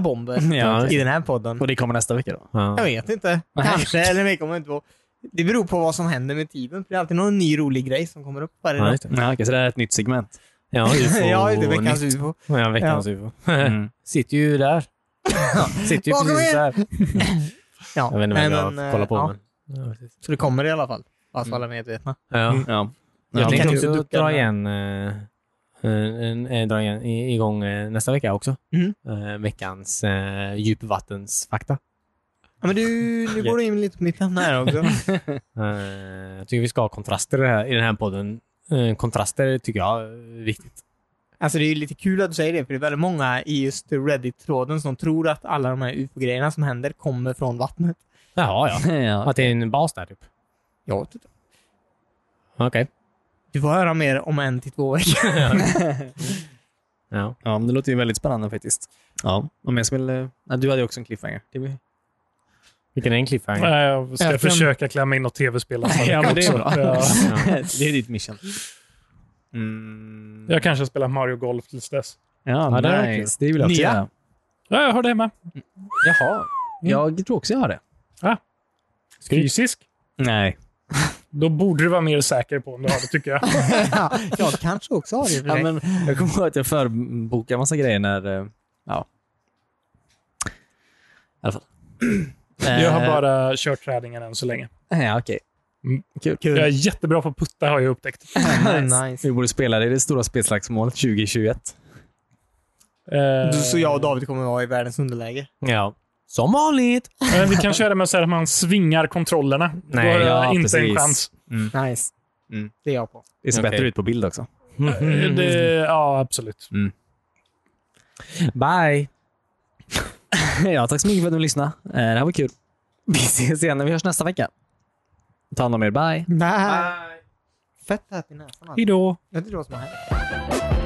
B: <laughs>
D: bomber
B: Ja.
D: i den här podden.
A: Och det kommer nästa vecka då?
D: Jag
B: Ja.
D: vet inte. Kanske, eller det kommer inte på. Det beror på vad som händer med tiden. för Det är alltid någon ny rolig grej som kommer upp varje
B: Ja,
D: dag.
B: just det.
A: Ja, okej, så det här är ett nytt segment.
B: <laughs> Ja, UFO.
D: <laughs> Ja, det är veckans
B: nytt.
D: ufo.
B: Ja, veckans UFO. <laughs>
E: Mm.
B: Sitter ju där. <laughs> Sitter ju
D: Bakom
B: precis
D: er!
B: där.
D: Ja.
B: Jag vet inte vem
D: nej,
B: jag
D: men, eh,
B: kollar på.
D: ja.
B: Men. Mm. Ja, precis.
D: Så det kommer i alla fall. Fast alla är medvetna.
B: ja.
E: <laughs>
A: Ja.
B: Jag
A: Ja,
B: tänkte
D: kan
B: också
D: inte ducka
B: dra
D: den här.
B: igen, eh, eh, eh, dra igen i- igång eh, nästa vecka också.
D: Mm.
B: Eh, veckans eh, djupvattensfakta.
D: Ja, men du, nu går du in lite på mitt ämne här också.
B: Eh, jag tycker vi ska ha kontraster i det här- i den här podden. Eh, kontraster tycker jag är viktigt.
D: Alltså det är ju lite kul att du säger det, för det är väldigt många i just Reddit-tråden som tror att alla de här ufo-grejerna som händer kommer från vattnet.
B: Jaha, ja.
A: ja.
B: <laughs> Att det är en bas där typ.
D: Jag vet inte.
B: Okej.
A: <laughs>
D: Du får höra mer om en till två veckor.
B: Ja.
A: ja, men det låter ju väldigt spännande faktiskt. Ja, om jag skulle... Ja, du hade ju också en cliffhanger. Det blir...
B: Vilken är en cliffhanger?
C: Nej, jag ska
D: Även-
C: försöka klämma in något tv-spel nästa vecka
A: Ja, men det är
C: också.
A: bra.
C: Ja.
A: <laughs> det är ditt mission. Mm.
C: Jag kanske spelar Mario Golf tills dess.
A: Ja,
B: det är
A: nice. Det vill jag också
D: Nya.
A: göra.
C: Ja, jag har det med.
A: Jaha. Mm. Jag tror också jag har det.
C: Fysisk.
A: Nej.
C: Då borde du vara mer säker på om du har det,
A: <laughs>
C: tycker jag.
D: ja, jag kanske också har det i och för
A: Ja,
D: sig.
A: men jag kommer ihåg att jag förbokade massa grejer när... eh, Ja. I alla fall.
C: <clears throat> Jag har
A: Eh,
C: bara kört träningen än så länge.
A: Ja, okej. Mm,
C: Jag
D: <laughs>
C: är
D: Kul.
C: jättebra på att putta har jag upptäckt.
D: nice.
A: Vi borde spela det i det stora spelslagsmålet 2021.
C: Eh,
D: Du, så jag och David kommer vara i världens underläge.
B: Ja. Som vanligt!
C: men vi kan köra med så här att man svingar kontrollerna.
B: Nej,
C: Då har jag
A: ja,
C: inte en
A: precis.
C: chans.
D: Nice.
A: Mm.
D: Det är jag på.
A: Det ser
B: Okej.
A: bättre ut på bild också.
C: Eh, Det, ja, absolut.
B: Bye!
A: <laughs> ja, tack så mycket för att du lyssnade. Eh, Det här var kul. Vi ses igen när vi hörs nästa vecka. Ta hand om er. Bye!
D: Nej. Fett här i näsan. alltså.
C: Hej då.
D: Jag vet inte vad som har hänt.